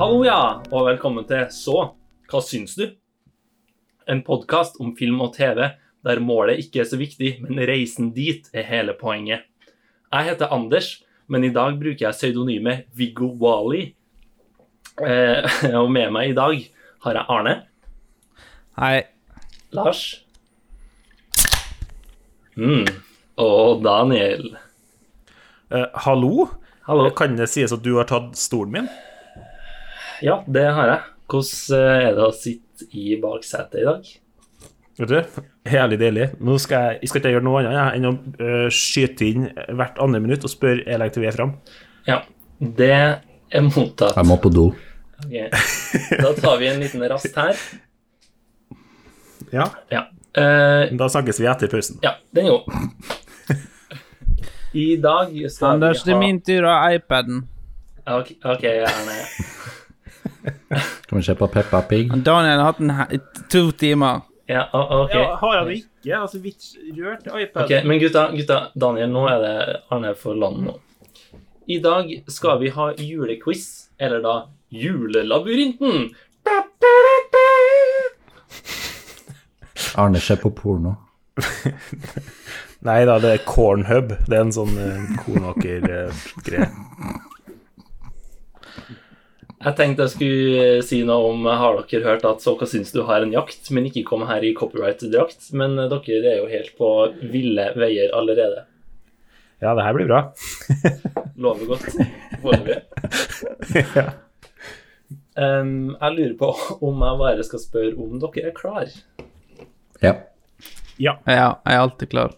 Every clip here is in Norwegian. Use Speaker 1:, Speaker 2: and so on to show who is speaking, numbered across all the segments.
Speaker 1: Hallo, ja, og velkommen til Så, hva syns du? En podkast om film og TV der målet ikke er så viktig, men reisen dit er hele poenget. Jeg heter Anders, men i dag bruker jeg pseudonymet Viggo Wali. Eh, og med meg i dag har jeg Arne,
Speaker 2: Hei.
Speaker 1: Lars mm, og Daniel.
Speaker 3: Eh, hallo?
Speaker 1: Hallo.
Speaker 3: Kan det sies at du har tatt stolen min?
Speaker 1: Ja, det har jeg. Hvordan eh, er det å sitte i baksetet i dag?
Speaker 3: Vet du, Herlig deilig. Nå skal jeg, jeg skal ikke gjøre noe annet jeg, enn å eh, skyte inn hvert andre minutt og spørre er lenge til vi er fram.
Speaker 1: Ja, det er mottatt.
Speaker 2: Jeg må på do.
Speaker 1: Ok. Da tar vi en liten rast her.
Speaker 3: Ja.
Speaker 1: Ja. Eh,
Speaker 3: Da snakkes vi etter pausen.
Speaker 1: ja, den er god. I dag skal
Speaker 2: Anders, det
Speaker 1: vi
Speaker 2: er
Speaker 1: ha
Speaker 2: min tur å ha iPaden.
Speaker 1: Ok, ok, Erne.
Speaker 4: Kan vi se på Peppa Pig?
Speaker 2: Daniel har hatt den her i t- to timer.
Speaker 1: Ja, o- ok.
Speaker 3: har jeg det ikke? Altså, vi rørt iPad.
Speaker 1: Ok, Men gutta, gutta, Daniel, nå er det Arne for land nå. I dag skal vi ha julequiz, eller da Julelabyrinten.
Speaker 4: Arne ser på porno.
Speaker 3: Nei da, det er Cornhub. Det er en sånn uh, kornåker-greie.
Speaker 1: Jeg tenkte jeg skulle eh, si noe om eh, Har dere hørt at Såka syns du har en jakt, men ikke kom her i copyright-drakt? Men eh, dere er jo helt på ville veier allerede.
Speaker 3: ja, det her blir bra.
Speaker 1: Lover godt. Foreløpig.
Speaker 3: ja.
Speaker 1: Em, jeg lurer på om jeg bare skal spørre om dere er klar.
Speaker 4: Ja.
Speaker 2: Ja, jeg er alltid klar.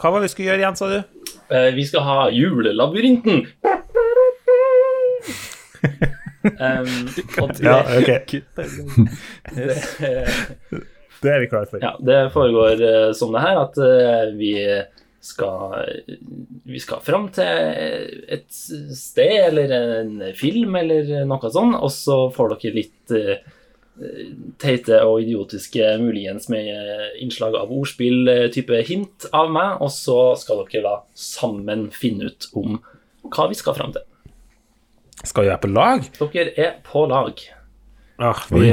Speaker 3: Hva var det vi skulle gjøre igjen, sa du?
Speaker 1: Eh, vi skal ha Julelabyrinten! Em, og det,
Speaker 3: Ja, ok. Det er vi klare for.
Speaker 1: ja, det foregår eh, som det her, at eh, vi skal, vi skal fram til et sted eller en film eller noe sånt, og så får dere litt eh, teite og idiotiske, muligens med eh, innslag av ordspill, eh, type hint av meg, og så skal dere da sammen finne ut om hva vi skal fram til.
Speaker 3: Skal vi være på lag?
Speaker 1: Dere er på lag.
Speaker 3: Ja, vi,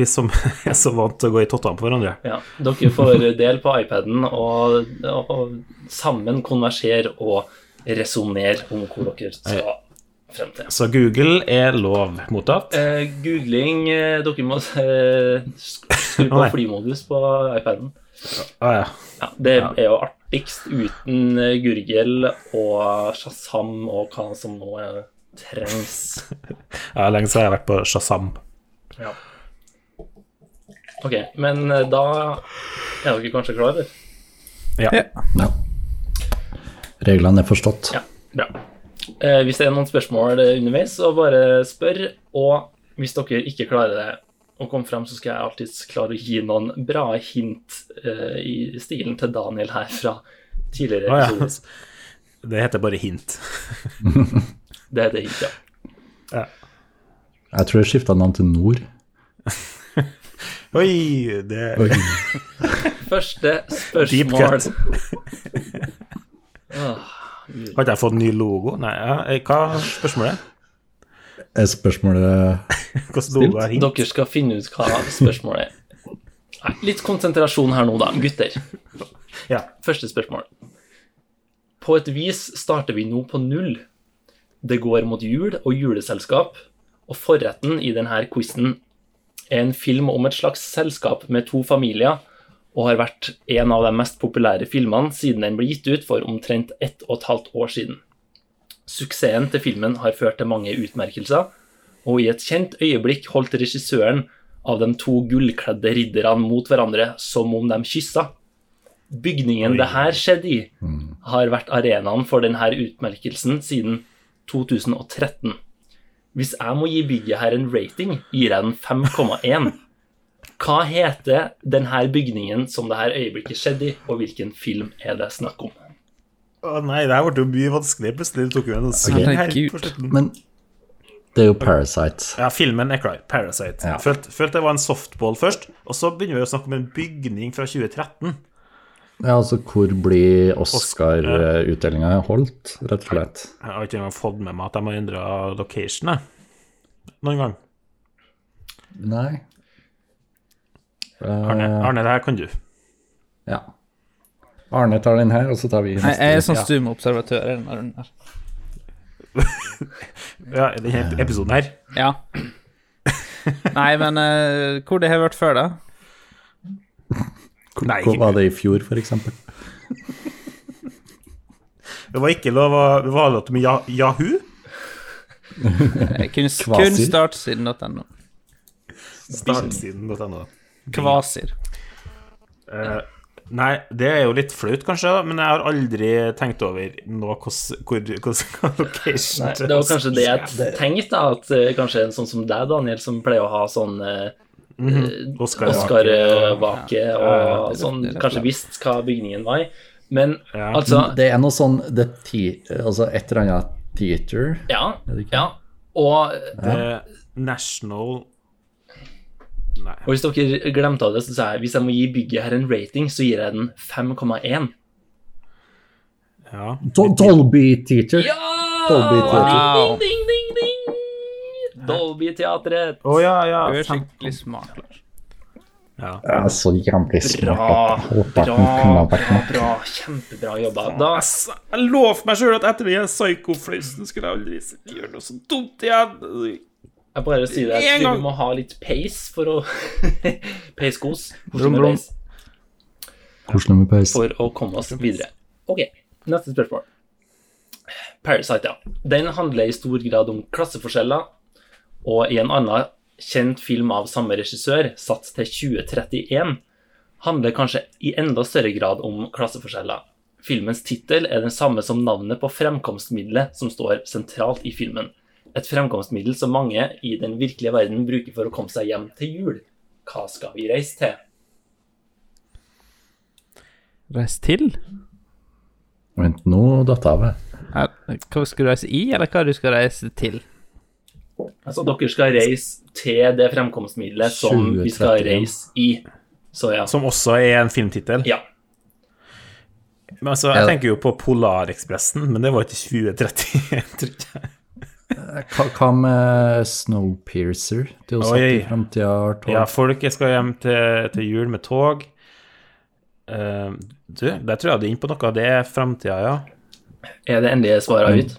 Speaker 3: vi som er så vant til å gå i tottene på hverandre.
Speaker 1: Ja, dere får del på iPaden og, og, og sammen konversere og resonnere om hvor dere skal frem til.
Speaker 3: Så Google er lov mottatt.
Speaker 1: Eh, googling eh, Dere må eh, sk- skru på
Speaker 3: Å, nei.
Speaker 1: flymodus på iPaden.
Speaker 3: Ah, ja.
Speaker 1: Ja, det er jo artigst uten eh, Gurgel og Shazam og hva som nå eh, trengs.
Speaker 3: ja, lenge siden jeg har vært på Shazam.
Speaker 1: Ja. OK, men eh, da er dere kanskje klare?
Speaker 4: ja. Reglene er forstått.
Speaker 1: Ja, bra. Eh, hvis det er noen spørsmål eh, underveis, så bare spør. Og hvis dere ikke klarer det å komme frem, så skal jeg alltids klare å gi noen bra hint eh, i stilen til Daniel her fra tidligere
Speaker 3: Ah, ja.
Speaker 1: episoder.
Speaker 3: Det heter bare hint.
Speaker 1: Det er det hint, ja.
Speaker 4: Jeg tror jeg skifta navn til Nord.
Speaker 3: Oi, det
Speaker 4: Oi.
Speaker 1: Første
Speaker 3: Deep
Speaker 1: spørsmål.
Speaker 3: cut.
Speaker 1: Ah,
Speaker 3: Har ikke jeg fått ny logo? Nei, ja. eh, hva er spørsmålet?
Speaker 4: Er spørsmålet
Speaker 3: Hvilken logo er hint?
Speaker 1: Dere skal finne ut hva spørsmålet er. Nei, litt konsentrasjon her nå, da, gutter.
Speaker 3: Ja.
Speaker 1: Første spørsmål. På et vis starter vi nå på null. Det går mot jul og juleselskap, og forretten i denne quizen er en film om et slags selskap med to familier, og har vært en av de mest populære filmene siden den ble gitt ut for omtrent ett og et halvt år siden. Suksessen til filmen har ført til mange utmerkelser, og i et kjent øyeblikk holdt regissøren av de to gullkledde ridderne mot hverandre som om de kyssa. Bygningen det her skjedde i, har vært arenaen for denne utmerkelsen siden 2013. Hvis jeg må gi bygget her en rating, gir jeg den 5,1. Hva heter denne bygningen som det her øyeblikket skjedde i, og hvilken film er det snakk om?
Speaker 3: Å nei, det her ble jo mye vanskeligere. Plutselig tok vi en sving her
Speaker 2: Herregud.
Speaker 3: på slutten.
Speaker 4: Men det er jo Parasite.
Speaker 3: Ja, filmen er klar. Parasite.
Speaker 4: Ja.
Speaker 3: Følte, følte det var en softball først, og så begynner vi å snakke om en bygning fra 2013.
Speaker 4: Ja, altså, hvor blir Oscar-utdelinga holdt, rett og slett?
Speaker 3: Jeg har ikke engang fått med meg at de har endra location jeg. noen gang.
Speaker 4: Nei. Eh,
Speaker 3: Arne, Arne, det her kan du.
Speaker 4: Ja. Arne tar den her, og så tar vi neste.
Speaker 2: Jeg, jeg er sånn stum observatør i denne runden her.
Speaker 3: Ja, i denne episoden her.
Speaker 2: Ja. Nei, men eh, hvor det har vært før, da?
Speaker 3: Nei,
Speaker 4: Hva var det i fjor, for eksempel?
Speaker 3: det var ikke lov å Det var lov til med ja, Yahoo.
Speaker 2: Eh, Kunst,
Speaker 4: Kvasir.
Speaker 2: kun startsiden.no.
Speaker 3: Startsiden.no.
Speaker 2: Kvasir.
Speaker 3: Eh, nei, det er jo litt flaut, kanskje, da, men jeg har aldri tenkt over nå hvordan hvor, hvordan location
Speaker 1: Nei, det var kanskje det jeg tenkte, da, at eh, kanskje en sånn som deg, Daniel, som pleier å ha sånn eh,
Speaker 3: Oscar,
Speaker 1: Oscar-vake
Speaker 3: ja,
Speaker 1: og sånn, kanskje visst hva bygningen var i. Men
Speaker 3: Ja.
Speaker 1: altså
Speaker 4: Det er noe sånn the te Altså et eller annet theater.
Speaker 1: Ja.
Speaker 4: det ikke?
Speaker 1: ja. Og,
Speaker 3: Eh, National
Speaker 1: og hvis dere glemte av det, så sa jeg hvis jeg må gi bygget her en rating, så gir jeg den 5,1.
Speaker 3: Ja.
Speaker 4: Dol- Dolby Theater.
Speaker 1: Ja!
Speaker 4: Dolby Theater.
Speaker 2: Wow.
Speaker 1: Ding, ding, ding, ding! Dolby-teatret.
Speaker 3: Å ja, ja.
Speaker 2: Du er
Speaker 3: fem-
Speaker 2: skikkelig smart, Lars.
Speaker 4: Ja, så jævlig
Speaker 1: Bra,
Speaker 4: smart. at
Speaker 1: bra,
Speaker 4: Håper at
Speaker 1: bra,
Speaker 4: den kunne vært med.
Speaker 1: bra. Kjempebra jobba. Da
Speaker 3: Altså, jeg lovte meg sjøl at etter den psykofløysen skulle jeg aldri s- gjøre noe så dumt igjen.
Speaker 1: Jeg bare sier det, jeg
Speaker 3: En
Speaker 1: tror
Speaker 3: gang.
Speaker 1: vi må ha litt pace for å Pace kos.
Speaker 3: Brum, brum.
Speaker 4: Koselig med pause.
Speaker 1: For å komme oss videre. OK, neste spørsmål. Parasite, ja. Den handler i stor grad om klasseforskjeller, og i en annen kjent film av samme regissør, satt til 2031, handler kanskje i enda større grad om klasseforskjeller. Filmens tittel er den samme som navnet på fremkomstmiddelet som står sentralt i filmen. Et fremkomstmiddel som mange i den virkelige verden bruker for å komme seg hjem til jul. Hva skal vi reise til?
Speaker 2: Reis til?
Speaker 4: Vent, nå datt jeg av. jeg.
Speaker 2: Nei, Hva skal du reise i, eller hva du skal reise til?
Speaker 1: Altså, dere skal reise til det fremkomstmiddelet som vi skal
Speaker 4: 2031.
Speaker 1: reise i. Så ja.
Speaker 3: Som også er en filmtittel.
Speaker 1: ja.
Speaker 3: Men altså, jeg tenker jo på Polarekspressen, men det var ikke 2031, tror jeg.
Speaker 4: Hva, hva med Snowpiercer? Det er jo satt i
Speaker 3: Oi.
Speaker 4: fremtida. har tolv-
Speaker 3: Ja, folk jeg skal hjem til, til jul med tog. Eh, du, der tror jeg du er inne på noe. Det er framtida, ja.
Speaker 1: Er det endelige svaret ut?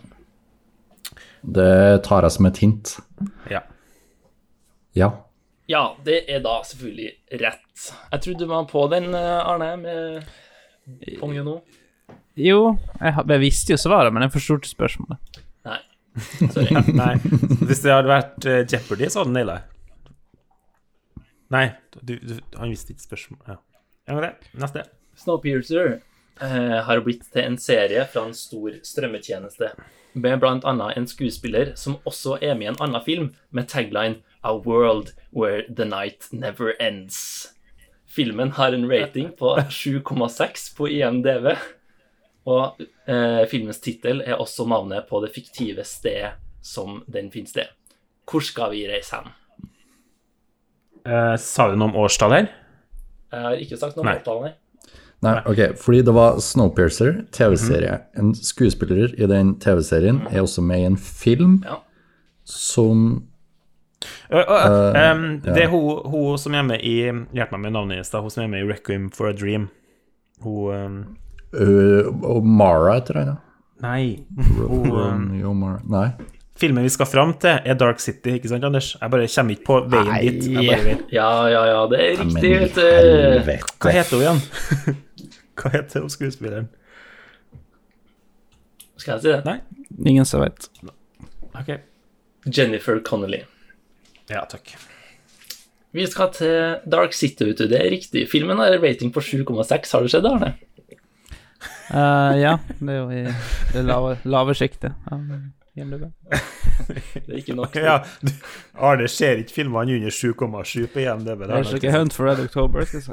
Speaker 4: Det tar jeg som et hint.
Speaker 3: ja.
Speaker 4: Ja.
Speaker 1: Ja, det er da selvfølgelig rett. Jeg trodde du var på den, eh, Arne, med Pongen nå.
Speaker 2: Jo, jeg, ha- jeg visste jo svaret, men jeg forsto ikke spørsmålet.
Speaker 1: Nei. Sorry.
Speaker 3: Nei, hvis det hadde vært eh, Jeopardy, så hadde han naila det. Nei, du, du, han visste ikke spørsmålet. Ja. Ja, men det. Neste.
Speaker 1: Snowpiercer eh, har blitt til en serie fra en stor strømmetjeneste, med blant annet en skuespiller som også er med i en annen film, med tagline A World Where The Night Never Ends. Filmen har en rating på 7,6 på IMDv, og eh, filmens tittel er også navnet på det fiktive stedet som den finner sted. Hvor skal vi reise hen?
Speaker 3: Eh, sa du noe om årstall her?
Speaker 1: Jeg har ikke sagt noe om
Speaker 3: Nei.
Speaker 1: årtallet, nei.
Speaker 4: Nei, ok, fordi det var Snowpiercer, TV-serie. En skuespiller i den TV-serien er også med i en film
Speaker 1: Ja.
Speaker 4: som
Speaker 3: Ø, ø, ø, em, det er hun, hun som er med i Hjelp meg med navnet hennes, da. Hun som er med i Requiem for a Dream. Hun em,
Speaker 4: øh, og Mara, heter han da.
Speaker 3: Nei.
Speaker 4: Ro-
Speaker 3: Hun, em,
Speaker 4: Ronny og Mara. Nei.
Speaker 3: filmen vi skal fram til, er Dark City, ikke sant, Anders? Jeg bare kommer ikke på veien dit. Jeg bare vet.
Speaker 1: Ja, ja, ja, det er
Speaker 4: Men
Speaker 1: riktig, vet du.
Speaker 4: helvete.
Speaker 3: Hva heter hun igjen? Hva heter hun skuespilleren?
Speaker 1: Skal jeg si det?
Speaker 3: Nei?
Speaker 2: Ingen som vet.
Speaker 3: OK.
Speaker 1: Jennifer Connolly.
Speaker 3: Ja, takk.
Speaker 1: Vi skal til Dark City, vet du. Det er riktig. Filmen har en rating på 7,6. Har det skjedd, Arne?
Speaker 2: Eh, ja, det er jo i det lave, lave sjiktet. av IMDb.
Speaker 1: Det er ikke nok.
Speaker 3: Ja, du- Arne ser ikke filmene under 7,7 på IMDb.
Speaker 2: Det er
Speaker 3: da.
Speaker 2: ikke Hunt for Red October. Skal jeg si.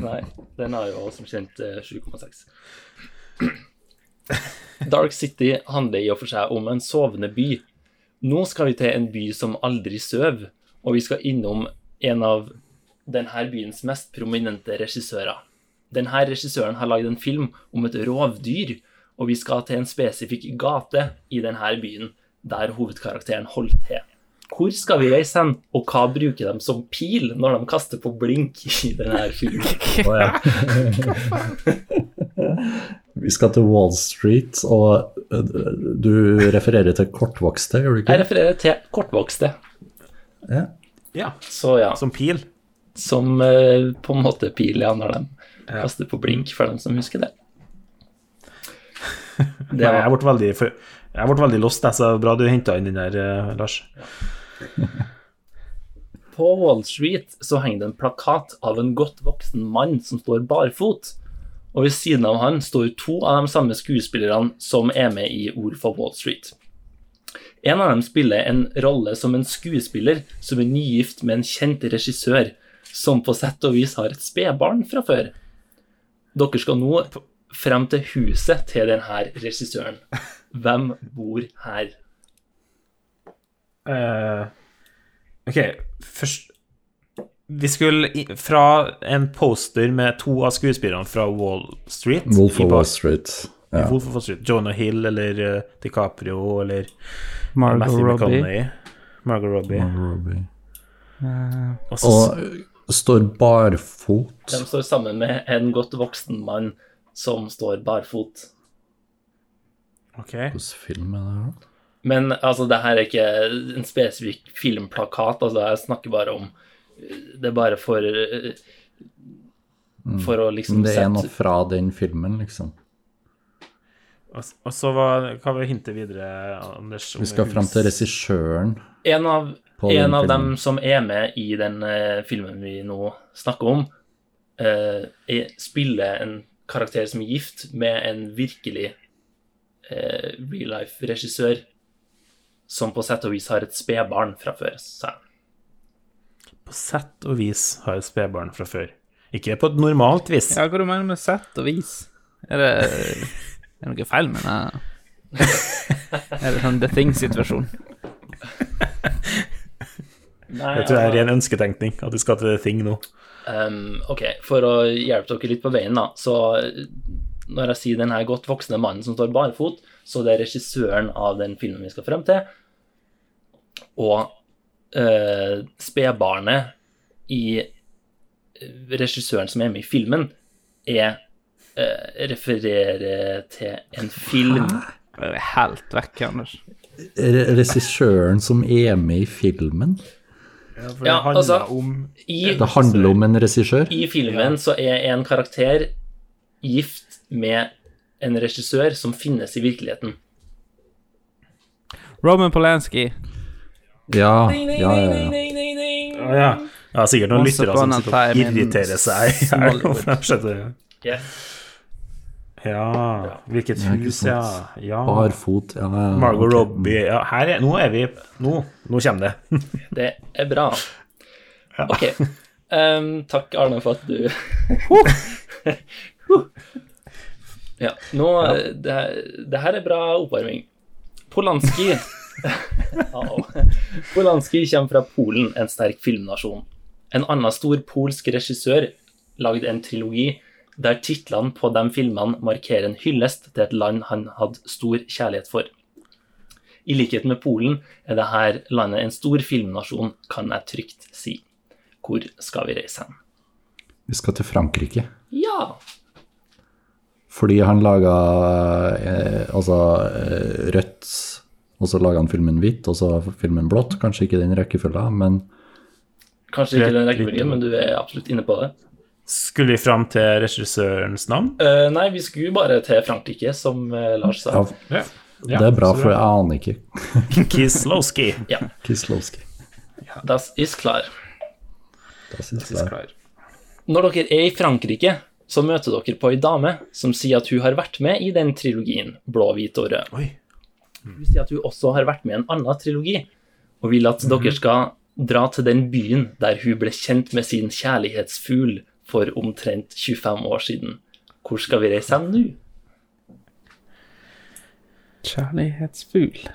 Speaker 1: Nei, den har jo som kjent eh, 7,6. Dark City handler i og for seg om en sovende by. Nå skal vi til en by som aldri søv, og vi skal innom en av denne byens mest prominente regissører. Denne regissøren har lagd en film om et rovdyr, og vi skal til en spesifikk gate i denne byen der hovedkarakteren holder til. Hvor skal vi reise hen, og hva bruker de som pil når de kaster på blink i denne filmen?
Speaker 4: Å, ja. Vi skal til Wall Street, og eh, du refererer til kortvokste, gjør du
Speaker 1: Jeg
Speaker 4: ikke?
Speaker 1: refererer til kortvokste,
Speaker 4: Ja.
Speaker 3: Ja,
Speaker 1: så ja.
Speaker 3: som pil.
Speaker 1: Som eh, på en måte pil, ja, når de kaster på blink, for dem som husker det. Det
Speaker 3: Nei, jeg
Speaker 1: var
Speaker 3: ble veldig, for- jeg ble veldig lost, jeg, så bra du henta inn den der, eh, Lars.
Speaker 1: På Wall Street så henger det en plakat av en godt voksen mann som står barfot. Og ved siden av han står to av de samme skuespillerne som er med i Ord for Wall Street. En av dem spiller en rolle som en skuespiller som er nygift med en kjent regissør, som på sett og vis har et spedbarn fra før. Dere skal nå frem til huset til denne regissøren. Hvem bor her?
Speaker 3: Eh, ok, først Vi skulle i, fra en poster med to av skuespillerne fra Wall Street
Speaker 4: Wolf
Speaker 3: i
Speaker 4: of
Speaker 3: bak-
Speaker 4: Wall Street. Ja.
Speaker 3: Wolf of Wall Street. Jonah Hill eller eh, DiCaprio eller
Speaker 2: Margot
Speaker 3: Matthew
Speaker 2: Robbie.
Speaker 3: McConaughey. Margot Robbie.
Speaker 4: Robbie.
Speaker 2: Eh,
Speaker 3: Og så
Speaker 4: Mm. Og eh, står barfot.
Speaker 1: De står sammen med en godt voksen mann som står barfot.
Speaker 3: Ok.
Speaker 4: Hvilken film er det? her?
Speaker 1: Men altså, det her er ikke en spesifikk filmplakat, altså, jeg snakker bare om Det er bare for eh, For å liksom
Speaker 4: Men Mm. det er
Speaker 1: sette-
Speaker 4: noe fra den filmen, liksom.
Speaker 3: Og, og så var, hva var hintet videre, Anders? om
Speaker 4: Vi skal
Speaker 3: hus?
Speaker 4: frem til regissøren.
Speaker 1: En av,
Speaker 4: På den
Speaker 1: en av
Speaker 4: filmen.
Speaker 1: dem som er med i den eh, filmen vi nå snakker om, eh, er, spiller en karakter som er gift med en virkelig eh, real life-regissør som på sett og vis har et spedbarn fra før. sa jeg.
Speaker 3: På sett og vis har jeg spedbarn fra før. Ikke på et normalt vis.
Speaker 2: Ja, hva du mener med sett og vis? Er det, er det noe feil med det? Er det sånn The Thing-situasjon?
Speaker 1: Nei,
Speaker 3: Det tror jeg
Speaker 1: altså-
Speaker 3: er ren ønsketenkning, at du skal til ting nå.
Speaker 1: Ehm, ok, for å hjelpe dere litt på veien, da, så eh, når jeg sier den her godt voksne mannen som står barfot, så det er regissøren av den filmen vi skal frem til, og eh, spedbarnet i eh, regissøren som er med i filmen, er eh, refererer til en film.
Speaker 2: Det er helt vekk, Anders.
Speaker 4: Re regissøren som er med i filmen.
Speaker 3: Ja, for
Speaker 1: det Ja, handler altså-
Speaker 3: om
Speaker 1: I,
Speaker 4: Det handler om en regissør.
Speaker 1: I filmen så er en karakter gift med en regissør som finnes i virkeligheten.
Speaker 2: Roman Polanski.
Speaker 4: Ja, ja, ja. ja.
Speaker 3: Ja, ja. ja sikkert noen
Speaker 2: Once
Speaker 3: lyttere som
Speaker 2: upon a
Speaker 3: sitter og
Speaker 2: time in
Speaker 3: irriterer seg. i hjel
Speaker 2: Hollywood.
Speaker 3: over det skjedde.
Speaker 1: Yes.
Speaker 3: Ja, hvilket
Speaker 4: Ja, ikke
Speaker 3: hus, ja.
Speaker 4: sant.
Speaker 3: ja.
Speaker 4: Barfot. Ja, ja, ja.
Speaker 3: Margot
Speaker 4: Ok.
Speaker 3: Robbie. Ja, her er, nå er vi Nå, nå kommer det.
Speaker 1: Det er bra. Ok. Ehm, takk, Arne, for at du Ja, nå eh, det, her- det her er bra oppvarming. Polanski Au. Polanski kommer fra Polen, en sterk filmnasjon. En annen stor polsk regissør lagde en trilogi der titlene på de filmene markerer en hyllest til et land han hadde stor kjærlighet for. I likhet med Polen er dette landet en stor filmnasjon, kan jeg trygt si. Hvor skal vi reise hen?
Speaker 4: Vi skal til Frankrike.
Speaker 1: Ja!
Speaker 4: Fordi han laga eh, altså eh, rødt, og så laga han filmen hvitt, og så filmen blått. Kanskje ikke den rekkefølga, men
Speaker 1: Kanskje ikke
Speaker 3: Rett
Speaker 1: den
Speaker 3: litt-
Speaker 1: rekkefølgen, men du er absolutt inne på det.
Speaker 3: Skulle vi fram til regissørens navn?
Speaker 1: Eh, nei, vi skulle bare til Frankrike, som eh, Lars sa.
Speaker 4: ja,
Speaker 3: Ja.
Speaker 4: det er bra, for jeg aner ikke.
Speaker 3: Kislowski.
Speaker 4: Kislovskij.
Speaker 1: Das ist klar.
Speaker 4: Da synes jeg.
Speaker 1: Når dere er i Frankrike, så møter dere på ei dame som sier at hun har vært med i den trilogien, blå, hvit og rød.
Speaker 3: Oi.
Speaker 1: Hun sier at hun også har vært med i en annen trilogi, og vil at dere skal dra til den byen der hun ble kjent med sin kjærlighetsfugl for omtrent 25 år siden. Hvor skal vi reise hen nå?
Speaker 2: Kjærlighetsfugl.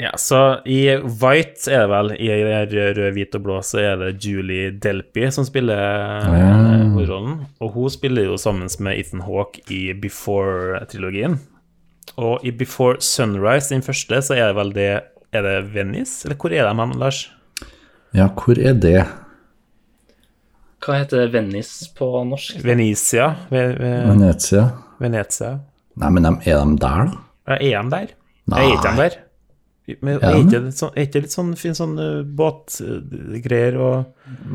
Speaker 3: Ja, så i White er det vel, i rød, rød, hvit og blå, så er det Julie Delpy som spiller eh, hovedrollen. Og hun spiller jo sammen med Ethan Hawke i Before-trilogien. Og i Before Sunrise, den første, så er det vel det Er det Venice, eller hvor er de hen, Lars?
Speaker 4: Ja, hvor er det?
Speaker 1: Hva heter Venice på norsk?
Speaker 3: Venezia? Ve- ve-
Speaker 4: Venezia?
Speaker 3: Venezia?
Speaker 4: Nei, men de- er de der, da?
Speaker 3: Ja, Er de der?
Speaker 4: Nei.
Speaker 3: Nei. Er ikke de der? Men
Speaker 4: Er
Speaker 3: er
Speaker 4: de?
Speaker 3: ikke det sånn, er ikke litt sånn fin sånn eh, båtgreier og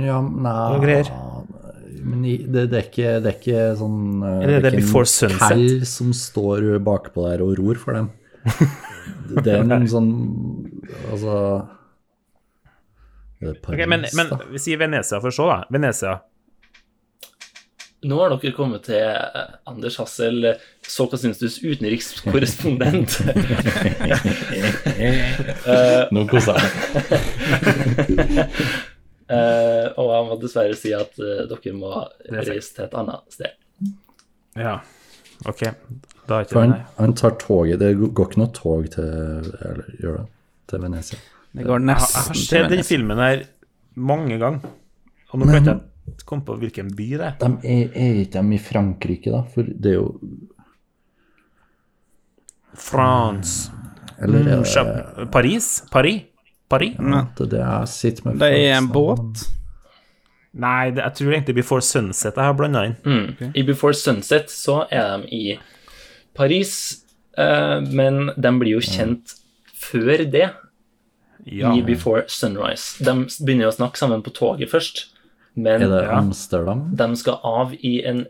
Speaker 4: Ja, nei
Speaker 3: Og greier.
Speaker 4: Men i- det, det, er ikke, det er ikke sånn eh,
Speaker 3: Eller er det
Speaker 4: ikke en
Speaker 3: Before Sunset?
Speaker 4: Kall som står bakpå der og ror for dem. Det er en sånn Altså det er Paris,
Speaker 3: Ok, men, men
Speaker 4: da.
Speaker 3: vi sier Venezia for så, da. Venezia.
Speaker 1: Nå har dere kommet til eh, Anders Hassel, eh, så hva syns du, utenrikskorrespondent.
Speaker 4: Nå koser jeg meg.
Speaker 1: Eh, og jeg må dessverre si at eh, dere må
Speaker 3: er feil.
Speaker 1: reise til et annet sted.
Speaker 3: Ja. Ok, da er
Speaker 4: For
Speaker 3: ikke det
Speaker 4: han,
Speaker 3: nei.
Speaker 4: han tar toget Det går ikke noe tog til Eller gjør det? Til Venezia.
Speaker 2: Det går
Speaker 3: Jeg har- jeg
Speaker 2: nesten
Speaker 3: har
Speaker 2: til
Speaker 3: sett den
Speaker 2: Venice.
Speaker 3: filmen her mange ganger. Og nå kan jeg ikke komme på hvilken by det er.
Speaker 4: De er, er ikke de i Frankrike, da? For det er jo
Speaker 3: France.
Speaker 2: Mm.
Speaker 4: Eller er
Speaker 3: Mm.
Speaker 4: det
Speaker 3: Chab- Paris? Paris? Paris?
Speaker 4: det, er det jeg sitter med
Speaker 2: Det er en
Speaker 4: følelsen av.
Speaker 2: båt.
Speaker 3: Nei, det, jeg tror egentlig Before Sunset jeg har blanda inn.
Speaker 1: Mm. I Before Sunset så er de i Paris, eh, men de blir jo kjent før det,
Speaker 3: Ja.
Speaker 1: i Before Sunrise. De begynner jo å snakke sammen på toget først, men
Speaker 4: Er det
Speaker 3: Ja.
Speaker 4: Amsterdam?
Speaker 1: de skal av i en,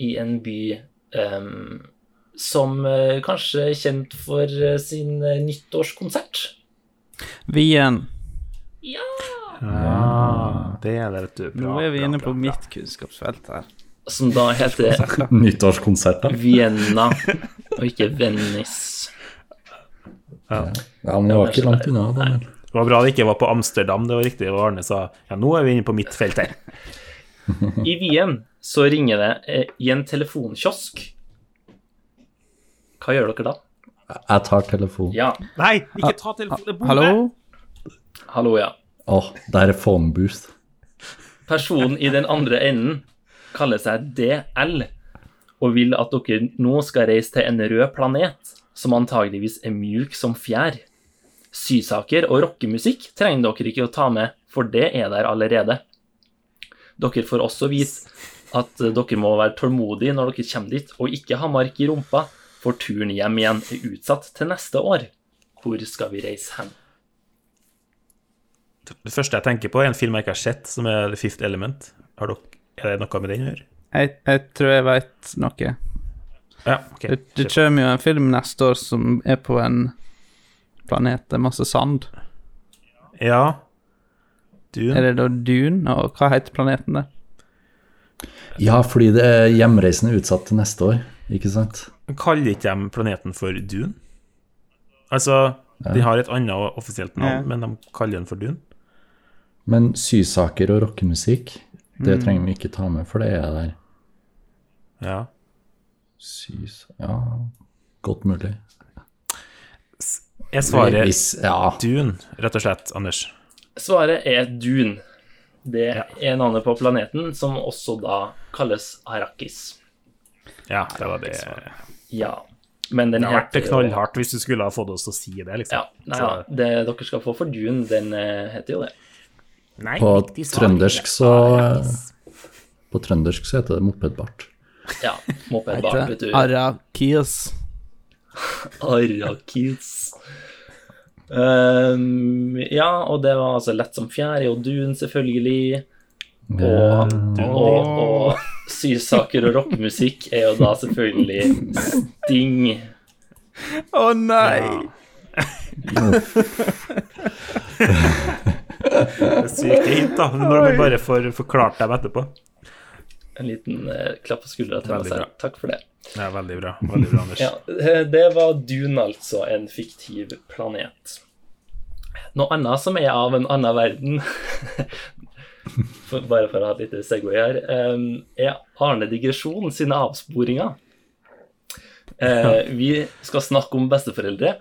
Speaker 1: i en by em, som eh, kanskje er kjent for eh, sin eh, nyttårskonsert.
Speaker 2: Wien.
Speaker 3: Ah, det er det, vet du. Bra,
Speaker 2: Mm. Nå er vi
Speaker 3: bra,
Speaker 2: inne
Speaker 3: bra,
Speaker 2: på
Speaker 3: bra.
Speaker 2: mitt kunnskapsfelt her.
Speaker 1: Som da heter
Speaker 4: Nyttårskonsert, da?
Speaker 1: Vienna, og ikke Venice.
Speaker 4: Ja, men det var ikke langt unna. Daniel.
Speaker 3: Det var bra det ikke var på Amsterdam, det var riktig. Og Arne sa ja, nå er vi inne på mitt felt her.
Speaker 1: I Wien så ringer det eh, i en telefonkiosk. Hva gjør dere da?
Speaker 4: Jeg tar telefonen.
Speaker 1: Ja,
Speaker 3: Nei, ikke ta telefonen!
Speaker 2: Ah, Hallo?
Speaker 1: hallo, ja.
Speaker 4: Åh, der er phone booth.
Speaker 1: Personen i den andre enden kaller seg DL og vil at dere nå skal reise til en rød planet som antageligvis er mjuk som fjær. Sysaker og rockemusikk trenger dere ikke å ta med, for det er der allerede. Dere får også vite at dere må være tålmodige når dere kommer dit, og ikke ha mark i rumpa, for turen hjem igjen er utsatt til neste år. Hvor skal vi reise hen?
Speaker 3: Det første jeg tenker på, er en film jeg ikke har sett, som er The Fifth Element. Har dere, er det noe med den å gjøre?
Speaker 2: Jeg, jeg tror jeg veit noe.
Speaker 3: Ja, ok.
Speaker 2: Det, det kommer jo en film neste år som er på en planet det er masse sand.
Speaker 3: Ja. Dune.
Speaker 2: Er det da Dune? Og hva heter planeten der?
Speaker 4: Ja, fordi det er hjemreisen er utsatt til neste år, ikke sant?
Speaker 3: Kaller ikke de planeten for Dune? Altså, de har et annet offisielt navn,
Speaker 2: Ja.
Speaker 3: men de kaller den for Dune?
Speaker 4: Men sysaker og rockemusikk, det trenger vi ikke ta med, for det er der.
Speaker 3: Ja.
Speaker 4: Sys... Ja, godt mulig.
Speaker 3: Jeg svarer
Speaker 4: Hvis, ja,
Speaker 3: Dune, rett og slett, Anders.
Speaker 1: Svaret er Dun. Det er navnet på planeten, som også da kalles Arrakis.
Speaker 3: Ja, det var det.
Speaker 1: Ja, men den
Speaker 3: Det har vært
Speaker 1: heter jo-
Speaker 3: knallhardt hvis du skulle ha fått oss til å si det, liksom.
Speaker 1: Ja, nei, ja, det dere skal få for Dun, den eh, heter jo det.
Speaker 3: Så- Nei,
Speaker 4: på
Speaker 3: riktig svar.
Speaker 4: trøndersk så På trøndersk så heter det mopedbart.
Speaker 1: Ja, mopedbar, vet du.
Speaker 2: Heter Arakias.
Speaker 1: Arrakis. Um, ja, og det var altså lett som fjær, og Dun selvfølgelig. Og, og, og sysaker og rockemusikk er jo da selvfølgelig Sting.
Speaker 2: Å nei!
Speaker 3: Det er Syke hint, da. Når de bare får forklart dem etterpå.
Speaker 1: En liten eh, klapp på skuldra til meg
Speaker 3: Veldig bra.
Speaker 1: selv. Takk for det.
Speaker 3: Ja, veldig bra. Veldig bra, Anders.
Speaker 1: Ja, eh, det var Dune, altså. En fiktiv planet. Noe annet som er av en annen verden for, Bare for å ha et lite segway her eh, Er Arne Digresjon sine avsporinger. Eh, vi skal snakke om besteforeldre,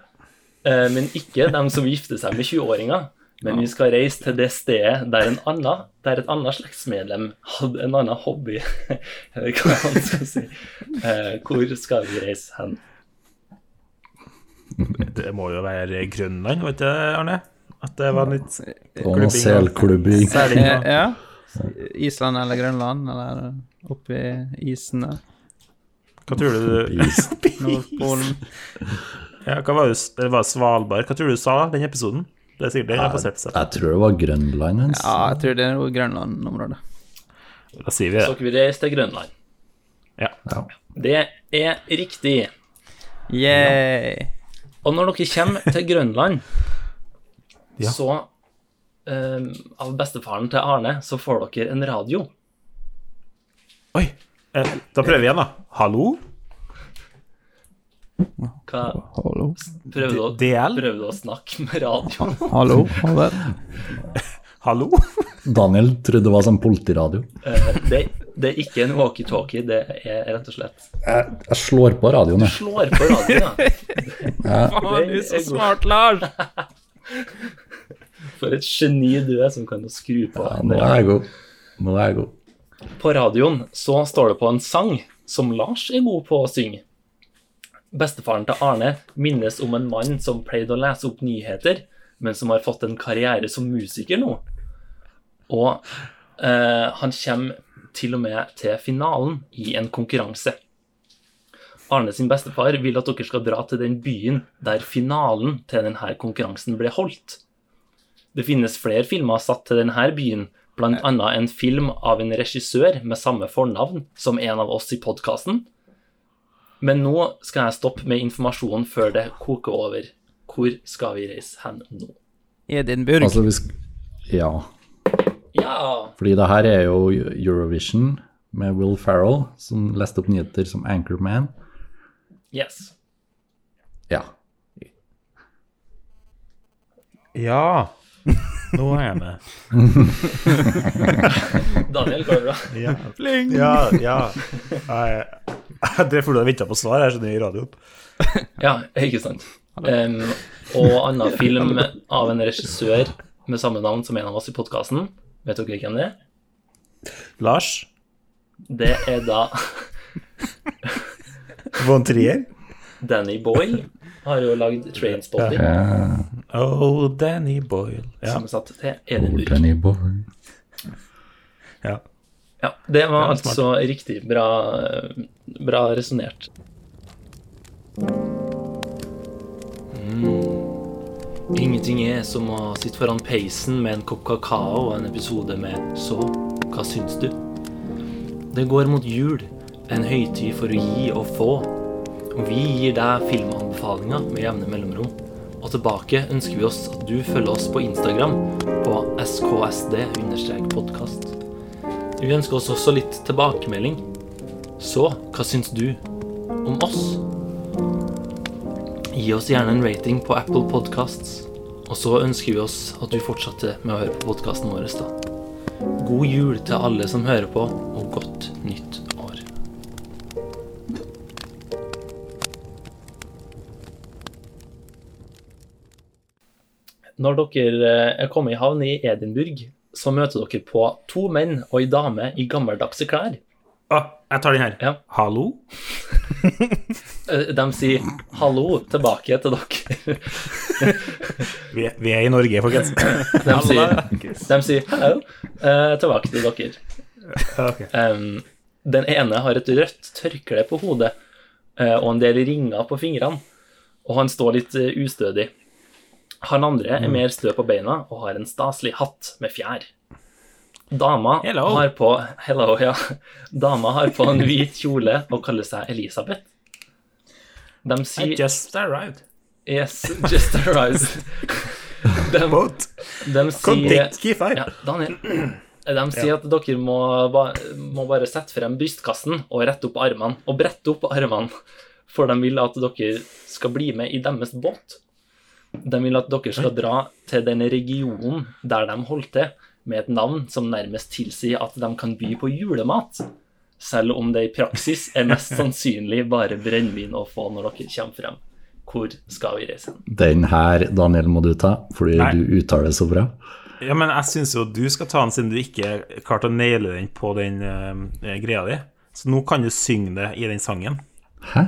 Speaker 1: eh, men ikke dem som gifter seg med 20-åringer. Men vi skal reise til det stedet der, en annen, der et annet slektsmedlem hadde en annen hobby. Eller hva man skal si. Eh, hvor skal vi reise hen?
Speaker 3: Det må jo være Grønland, vet du, Arne? At det var litt
Speaker 4: Det var noe selklubbing.
Speaker 3: Sæling,
Speaker 2: Eh,
Speaker 3: da.
Speaker 2: ja. Island eller Grønland, eller oppi isen der.
Speaker 3: Hva tror du du
Speaker 4: Is.
Speaker 2: Nordpolen.
Speaker 3: ja, hva var det, s- det var Svalbard. Hva tror du du sa den episoden? Det er sikkert den jeg har basert seg på.
Speaker 4: Jeg tror det var Grønland hans.
Speaker 2: Ja, jeg tror det er noe Grønland-området.
Speaker 3: Da sier vi
Speaker 1: Så
Speaker 3: det.
Speaker 1: dere vil reise til Grønland.
Speaker 4: Ja.
Speaker 1: Det er riktig.
Speaker 2: Yay!
Speaker 1: Og når dere kommer til Grønland,
Speaker 3: Ja.
Speaker 1: så eh, Av bestefaren til Arne, så får dere en radio.
Speaker 3: Oi! Eh, da prøver vi igjen, da. Hallo?
Speaker 1: Hva
Speaker 2: Hallo.
Speaker 1: prøver du, å-
Speaker 3: DL?
Speaker 1: prøver du å snakke med radioen?
Speaker 2: Ah, Hallo, Halvard.
Speaker 3: Hallo?
Speaker 4: Daniel trodde det var sånn politiradio.
Speaker 1: Eh, det, det er ikke en walkietalkie, det er rett og slett
Speaker 4: Jeg, jeg slår på radioen, jeg.
Speaker 1: Slår på radioen, ja.
Speaker 2: Å, du er
Speaker 1: Det er
Speaker 2: så
Speaker 1: god.
Speaker 2: smart, Lars!
Speaker 1: For et geni du er som kan skru på.
Speaker 4: Ja, nå er jeg god. Nå er jeg god.
Speaker 1: På radioen så står det på en sang som Lars er god på å synge. Bestefaren til Arne minnes om en mann som pleide å lese opp nyheter, men som har fått en karriere som musiker nå. Og eh, han kommer til og med til finalen i en konkurranse. Arne sin bestefar vil at dere skal dra til den byen der finalen til denne konkurransen ble holdt. Det finnes flere filmer satt til denne byen, blant annet en film av en regissør med samme fornavn som en av oss i podkasten. Men nå skal jeg stoppe med informasjonen før det koker over. Hvor skal vi reise hen nå?
Speaker 2: Edinburgh.
Speaker 4: Altså, vi sk ja.
Speaker 1: Ja!
Speaker 4: Fordi det her er jo Eurovision med Will Ferrell, som leste opp nyheter som Anchorman.
Speaker 1: Yes.
Speaker 4: Ja.
Speaker 3: Ja. Nå er jeg med.
Speaker 1: Daniel, går det bra?
Speaker 3: Ja, ja. ja. Jeg, jeg drev fullt av venta på svar, jeg skjønner, i radioen.
Speaker 1: Ja, ikke sant. Em, og annen film av en regissør med samme navn som en av oss i podkasten. Vet dere hvem det er?
Speaker 3: Lars
Speaker 1: Det er da
Speaker 3: von Trier.
Speaker 1: Danny Boyle. Har jo lagd Trainspotting,
Speaker 4: Eh,
Speaker 3: Oh, Danny Boyle. Ja.
Speaker 1: som er satt til
Speaker 4: old
Speaker 1: Edinburgh.
Speaker 4: Danny Boy.
Speaker 3: ja.
Speaker 1: Ja, det var
Speaker 3: Ja, smart.
Speaker 1: altså riktig bra, bra resonnert. Mm. Ingenting er som å sitte foran peisen med en kopp kakao og en episode med Så, hva syns du? Det går mot jul, en høytid for å gi og få. Og vi gir deg filmanbefalinger med jevne mellomrom. Og tilbake ønsker vi oss at du følger oss på Instagram på sksd-podkast. Vi ønsker oss også litt tilbakemelding. Så, hva syns du om oss? Gi oss gjerne en rating på Apple Podcasts. Og så ønsker vi oss at du fortsetter med å høre på podkasten vår. da. God jul til alle som hører på, og godt nytt år. Når dere eh, er kommet i havn i Edinburgh, så møter dere på to menn og ei dame i gammeldagse klær.
Speaker 3: Å, jeg tar den her.
Speaker 1: Ja.
Speaker 3: Hallo?
Speaker 1: Eh, De sier 'hallo' tilbake til dere.
Speaker 3: Vi, vi er i Norge, folkens.
Speaker 1: De sier, de sier 'hello' eh, tilbake til dere.
Speaker 3: Ok.
Speaker 1: Em, den ene har et rødt tørkle på hodet eh, og en del ringer på fingrene, og han står litt eh, ustødig. Han andre
Speaker 3: Mm.
Speaker 1: er mer stø på beina og har en staselig hatt med fjær. Dama
Speaker 3: Hello.
Speaker 1: har på Hello, ja. Dama har på en hvit kjole og kaller seg Elisabeth. De
Speaker 3: I
Speaker 1: sier
Speaker 3: just arrived.
Speaker 1: Yes, just arise. De,
Speaker 3: Boat.
Speaker 1: de sier
Speaker 3: fire.
Speaker 1: ja, Daniel. De sier at dere må, ba- må bare sette frem brystkassen og rette opp armene. Og brette opp armene, for de vil at dere skal bli med i deres båt. De vil at dere skal dra til den regionen der de holdt til, med et navn som nærmest tilsier at de kan by på julemat. Selv om det i praksis er mest sannsynlig bare brennevin å få når dere kommer frem. Hvor skal vi reise?
Speaker 4: Den her, Daniel, må du ta, fordi
Speaker 3: Nei.
Speaker 4: du uttaler det så bra.
Speaker 3: Ja, men jeg syns jo du skal ta den, siden du ikke klarte å naile den på den eh, greia di. Så nå kan du synge det i den sangen.
Speaker 4: Hæ?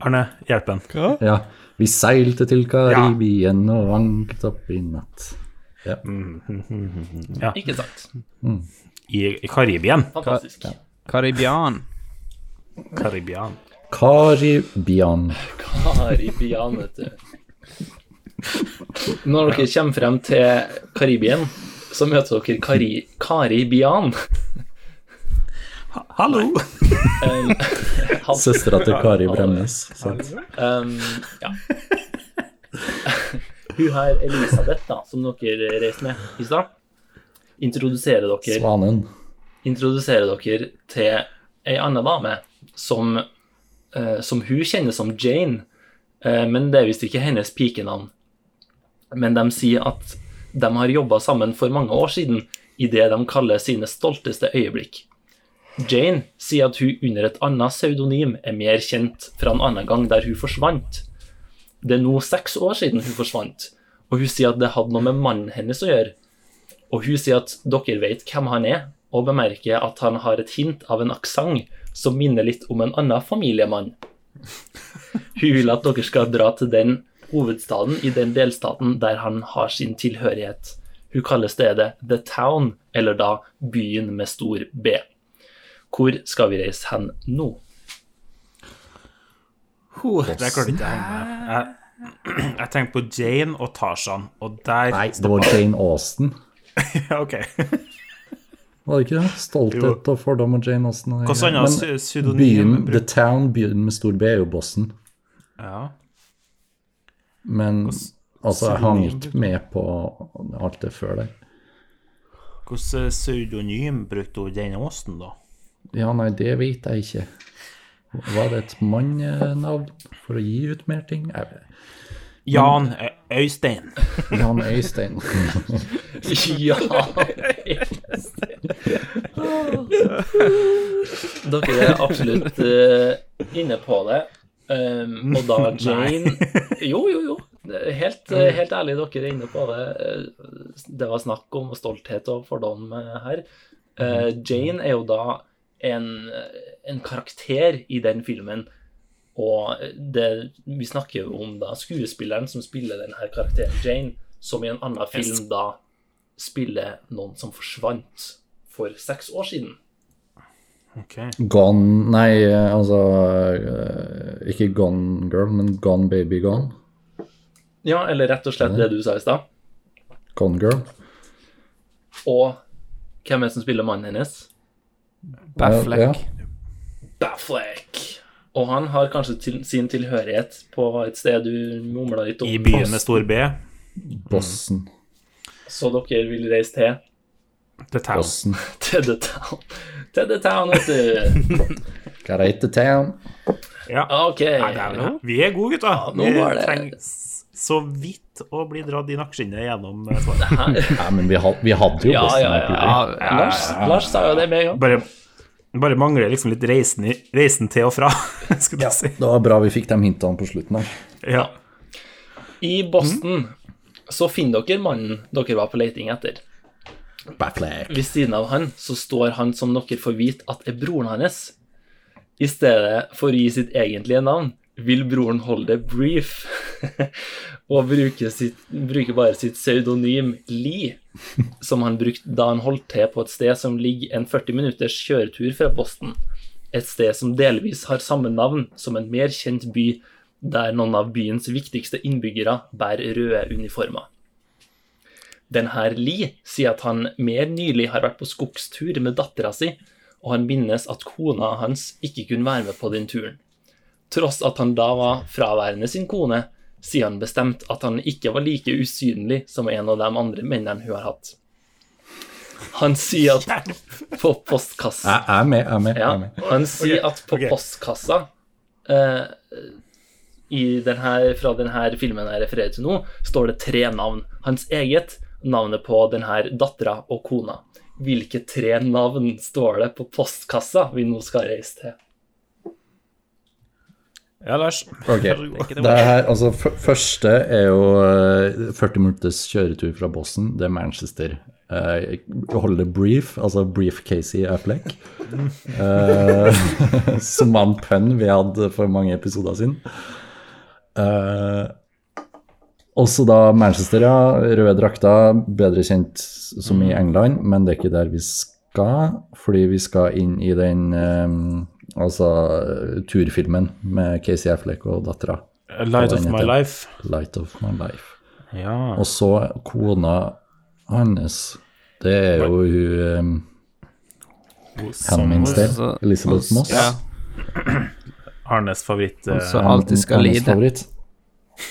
Speaker 3: Arne, hjelp en.
Speaker 4: Ja. Vi seilte til Karibien og vanket opp i natt. Ja.
Speaker 1: Ikke sant?
Speaker 3: I i Karibien.
Speaker 1: Fantastisk.
Speaker 2: Karibian.
Speaker 3: Karibian.
Speaker 4: Karibian.
Speaker 1: Karibian, vet du. Når dere kommer frem til Karibien, så møter dere Kari Karibian.
Speaker 3: Hallo!
Speaker 1: Um, han-
Speaker 4: Søstera til Kari Bremnes. sant?
Speaker 1: um, ja. Hun her, Elisabeth, da, som dere reiste med i stad, introduserer dere
Speaker 4: Svanen.
Speaker 1: introduserer dere til ei anna dame som, eh, som hun kjenner som Jane, eh, men det er visst ikke hennes pikenavn. Men de sier at de har jobba sammen for mange år siden i det de kaller sine stolteste øyeblikk. Jane sier at hun under et annet pseudonym er mer kjent fra en annen gang der hun forsvant. Det er nå seks år siden hun forsvant, og hun sier at det hadde noe med mannen hennes å gjøre. Og hun sier at dere vet hvem han er, og bemerker at han har et hint av en aksent som minner litt om en annen familiemann. Hun vil at dere skal dra til den hovedstaden i den delstaten der han har sin tilhørighet. Hun kaller stedet The Town, eller da Byen med stor B. Hvor skal vi reise hen nå?
Speaker 3: Det klarte ikke jeg å henge med. Jeg, jeg tenkte på Jane og Tarzan, og der
Speaker 4: Nei, det var Jane Austen.
Speaker 3: Ja, ok.
Speaker 4: Var det ikke det? Stolthet og fordom og Jane Austen. Og
Speaker 3: Hva sånn
Speaker 4: Men
Speaker 3: annet pseudonym
Speaker 4: byen,
Speaker 3: bruk-
Speaker 4: The Town, byen med stor B, er jo bossen.
Speaker 3: Ja.
Speaker 4: Men altså, jeg hang
Speaker 3: pseudonym
Speaker 4: ikke med på alt det før der.
Speaker 3: Hvilket eh, pseudonym brukte hun Jane Austen, da?
Speaker 4: Ja, nei, det vet jeg ikke. Var det et mannnavn for å gi ut mer ting? Jeg vet.
Speaker 3: Jan Ø- Øystein.
Speaker 4: Jan Øystein.
Speaker 1: Ja! Dere er absolutt eh, inne på det. Um, og da Jane Jo, jo, jo. Det er Helt, eh, helt ærlig, dere er inne på det. Eh, Det var snakk om stolthet og fordom eh, her. Eh, Jane er jo da en, en karakter i den filmen. Og det, vi snakker jo om da skuespilleren som spiller denne karakteren Jane, som i en annen film da spiller noen som forsvant for seks år siden.
Speaker 3: Ok.
Speaker 4: Gone Nei, altså eh, Ikke Gone Girl, men Gone Baby Gone.
Speaker 1: Ja, eller rett og slett det du sa i stad.
Speaker 4: Gone Girl.
Speaker 1: Og hvem er det som spiller mannen hennes?
Speaker 4: Ja,
Speaker 2: Baffleck.
Speaker 1: Baffleck. Og han har kanskje til, sin tilhørighet på et sted du mumla litt om.
Speaker 3: I byen med stor B.
Speaker 4: Bossen.
Speaker 1: Så dere vil reise til
Speaker 3: The Town.
Speaker 4: Bossen.
Speaker 1: Til The Town. Til The Town, vet du.
Speaker 4: Gotta hit the town.
Speaker 3: Ja.
Speaker 1: OK.
Speaker 3: Nei, det er vel- Vi er gode, gutta.
Speaker 1: nå
Speaker 3: vi
Speaker 1: var det-
Speaker 3: trenger s- så vidt å bli dratt i nakkeskinnet gjennom eh, svaret.
Speaker 4: Nei, men vi, had, vi hadde jo
Speaker 1: Ja,
Speaker 4: Bossen.
Speaker 1: ja, ja.
Speaker 4: naturlig.
Speaker 1: Lars, Lars sa jo det med en gang.
Speaker 3: Bare, bare mangler liksom litt reisen, i, reisen til og fra, skulle jeg si.
Speaker 4: Det var bra vi fikk de hintene på slutten her.
Speaker 3: Ja.
Speaker 1: I Boston så finner dere mannen dere var på leiting etter.
Speaker 4: Backleg.
Speaker 1: Ved siden av han så står han som dere får vite at er broren hans. I stedet for å gi sitt egentlige navn vil broren holde det brief og bruke, sitt, bruke bare sitt pseudonym Lee, som han brukte da han holdt til på et sted som ligger en 40 minutters kjøretur fra Boston. Et sted som delvis har samme navn som en mer kjent by, der noen av byens viktigste innbyggere bærer røde uniformer. Den her Lee sier at han mer nylig har vært på skogstur med dattera si, og han minnes at kona hans ikke kunne være med på den turen. Tross at han da var fraværende sin kone, sier han bestemt at han ikke var like usynlig som en av de andre mennene hun har hatt. Han sier at på postkassa
Speaker 4: Jeg jeg er med, jeg er med. jeg
Speaker 1: ja,
Speaker 4: er med.
Speaker 1: og han sier at på
Speaker 3: ok.
Speaker 1: postkassa eh, i den her, fra denne filmen jeg refererer til nå, står det tre navn. Hans eget, navnet på denne dattera og kona. Hvilke tre navn står det på postkassa vi nå skal reise til?
Speaker 3: ja, Lars.
Speaker 4: Ok, det her, altså f- Første er jo eh, 40 minutters kjøretur fra Bossen. Det er Manchester. eh, holde det brief, altså brief Casey Affleck. Eh, som var en pønn vi hadde for mange episoder siden. Eh, også da Manchester, ja. Røde drakter, bedre kjent som i England, men det er ikke der vi skal, fordi vi skal inn i den eh, altså turfilmen med Casey Affleck og dattera.
Speaker 3: A Light of
Speaker 4: den
Speaker 3: my
Speaker 4: heter?
Speaker 3: life.
Speaker 4: Light of my life.
Speaker 3: Ja.
Speaker 4: Og så kona hans, det er jo hun eh, Henning Steen,
Speaker 2: så-
Speaker 4: Elisabeth Moss.
Speaker 2: Ja,
Speaker 3: Arnes favoritt. eh,
Speaker 2: så alltid skal
Speaker 4: Hennes
Speaker 2: lide.
Speaker 4: favoritt.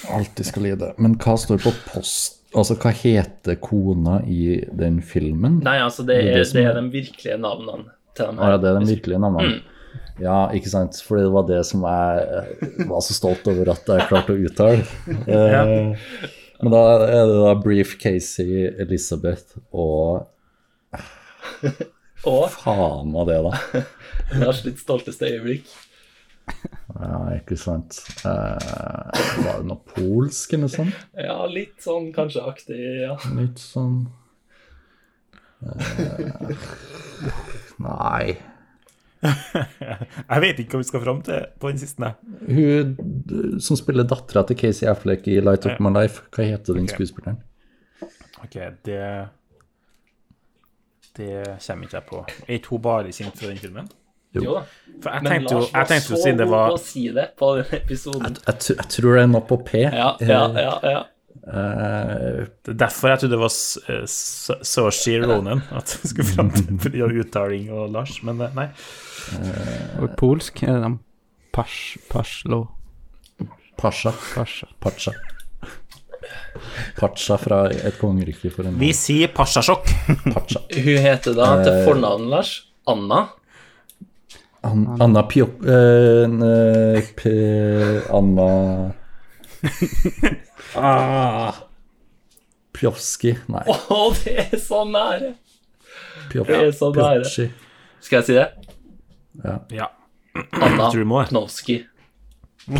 Speaker 4: Alltid skal lide. Men hva står på post... Altså, hva heter kona i den filmen?
Speaker 1: Nei, altså, det
Speaker 4: Det er
Speaker 1: er,
Speaker 4: det som-
Speaker 1: det er de virkelige navnene til dem
Speaker 4: Ah, ja,
Speaker 1: her.
Speaker 4: det er den virkelige navnet. Ja, ikke sant. Fordi det var det som jeg eh, var så stolt over at jeg klarte å uttale. Eh, Men da er det da Brief Casey, Elizabeth og
Speaker 1: Og
Speaker 4: faen hva det, er da.
Speaker 1: Lars sitt stolteste øyeblikk.
Speaker 4: Ja, ikke sant. Eh, var det noe polsk eller noe sånt?
Speaker 1: Ja, litt sånn kanskje aktig, ja.
Speaker 4: Litt sånn eh, Nei.
Speaker 3: Jeg vet ikke hva vi skal fram til på den siste. nei.
Speaker 4: Hun d- som spiller dattera til Casey Affleck i Light Up My Life, hva heter den
Speaker 3: Ok.
Speaker 4: skuespilleren?
Speaker 3: Ok, det Det kommer ikke jeg på. Er ikke hun bare kjent fra den filmen?
Speaker 1: Jo da.
Speaker 3: For jeg
Speaker 1: Men
Speaker 3: tenkte jo,
Speaker 1: Lars
Speaker 3: jeg
Speaker 1: var
Speaker 3: tenkte jo
Speaker 1: så
Speaker 3: siden det
Speaker 1: god
Speaker 3: var
Speaker 1: på å si det på den episoden.
Speaker 4: Jeg, tr- jeg tror det er noe på P.
Speaker 1: Ja, ja, ja. ja.
Speaker 4: Eh,
Speaker 3: Det er derfor jeg trodde det var S- eh, S- Saoirse Ronan at jeg skulle fram til fordi av uttaling og Lars, men eh, nei.
Speaker 2: Og polsk er det Pasj, Pasjlo,
Speaker 4: Pasha.
Speaker 2: Pasja.
Speaker 4: Eh, Pacha. Pacha fra Et kongerike for en
Speaker 3: Vi sier Pasjasjokk.
Speaker 4: Pacha.
Speaker 1: Hun heter da
Speaker 3: Eh,
Speaker 1: til fornavn, Lars, Anna.
Speaker 4: An Anna Piop... eh, ne- P- Anna ah. Pjovski. Nei,
Speaker 1: Å, det er så nære!
Speaker 4: Pjov
Speaker 1: det er så nære.
Speaker 4: Pjovski.
Speaker 1: Skal jeg si det?
Speaker 3: Ja.
Speaker 1: Anna
Speaker 3: Tror du må.
Speaker 1: Knowski.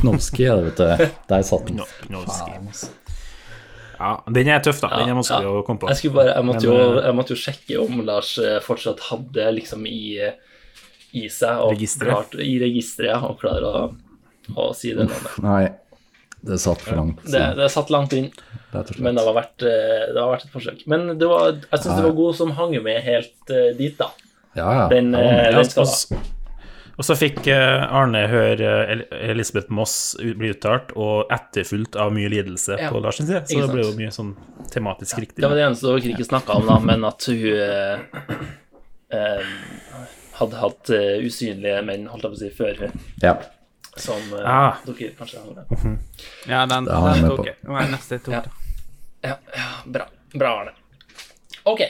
Speaker 4: Knovski er det, vet du. Der satt den.
Speaker 3: No, no, ja, den er tøff, da. Den er vanskelig å komme på.
Speaker 1: Jeg, skulle bare, jeg, måtte
Speaker 3: Men,
Speaker 1: jo,
Speaker 3: eh,
Speaker 1: jeg måtte jo sjekke om Lars eh, fortsatt hadde liksom i, eh, i seg og
Speaker 3: Registeret.
Speaker 1: klart- I registeret, ja, og klarer å, å si det navnet.
Speaker 4: Nei, det satt for langt.
Speaker 1: Det,
Speaker 4: siden,
Speaker 1: det satt langt inn,
Speaker 4: rett og slett.
Speaker 1: men det har vært, eh, det har vært et forsøk. Men det var, jeg syns det var god som hang med helt eh, dit, da.
Speaker 4: Ja, ja.
Speaker 1: Den,
Speaker 4: Ja,
Speaker 1: eh,
Speaker 3: Ja,
Speaker 1: den
Speaker 3: og,
Speaker 1: skal
Speaker 3: så, og så fikk eh, Arne høre eh, El- Elisabeth Moss u- bli uttalt, og etterfulgt av mye lidelse
Speaker 1: Ja.
Speaker 3: på Lars sin side. Så
Speaker 1: Ikke
Speaker 3: det ble jo
Speaker 1: sant.
Speaker 3: mye sånn tematisk riktig.
Speaker 1: Det var det eneste dere ikke snakka om, da, men at hun eh, eh, hadde hatt eh, usynlige menn, holdt jeg på å si, før hun,
Speaker 4: ja.
Speaker 1: som eh,
Speaker 3: Ah.
Speaker 1: dere kanskje hang med.
Speaker 2: Ja, den,
Speaker 4: har jeg med
Speaker 2: den tok
Speaker 4: på.
Speaker 2: jeg. Nå er neste jeg tok.
Speaker 1: Ja.
Speaker 2: da.
Speaker 1: Ja, ja, bra. Bra, Arne. Ok.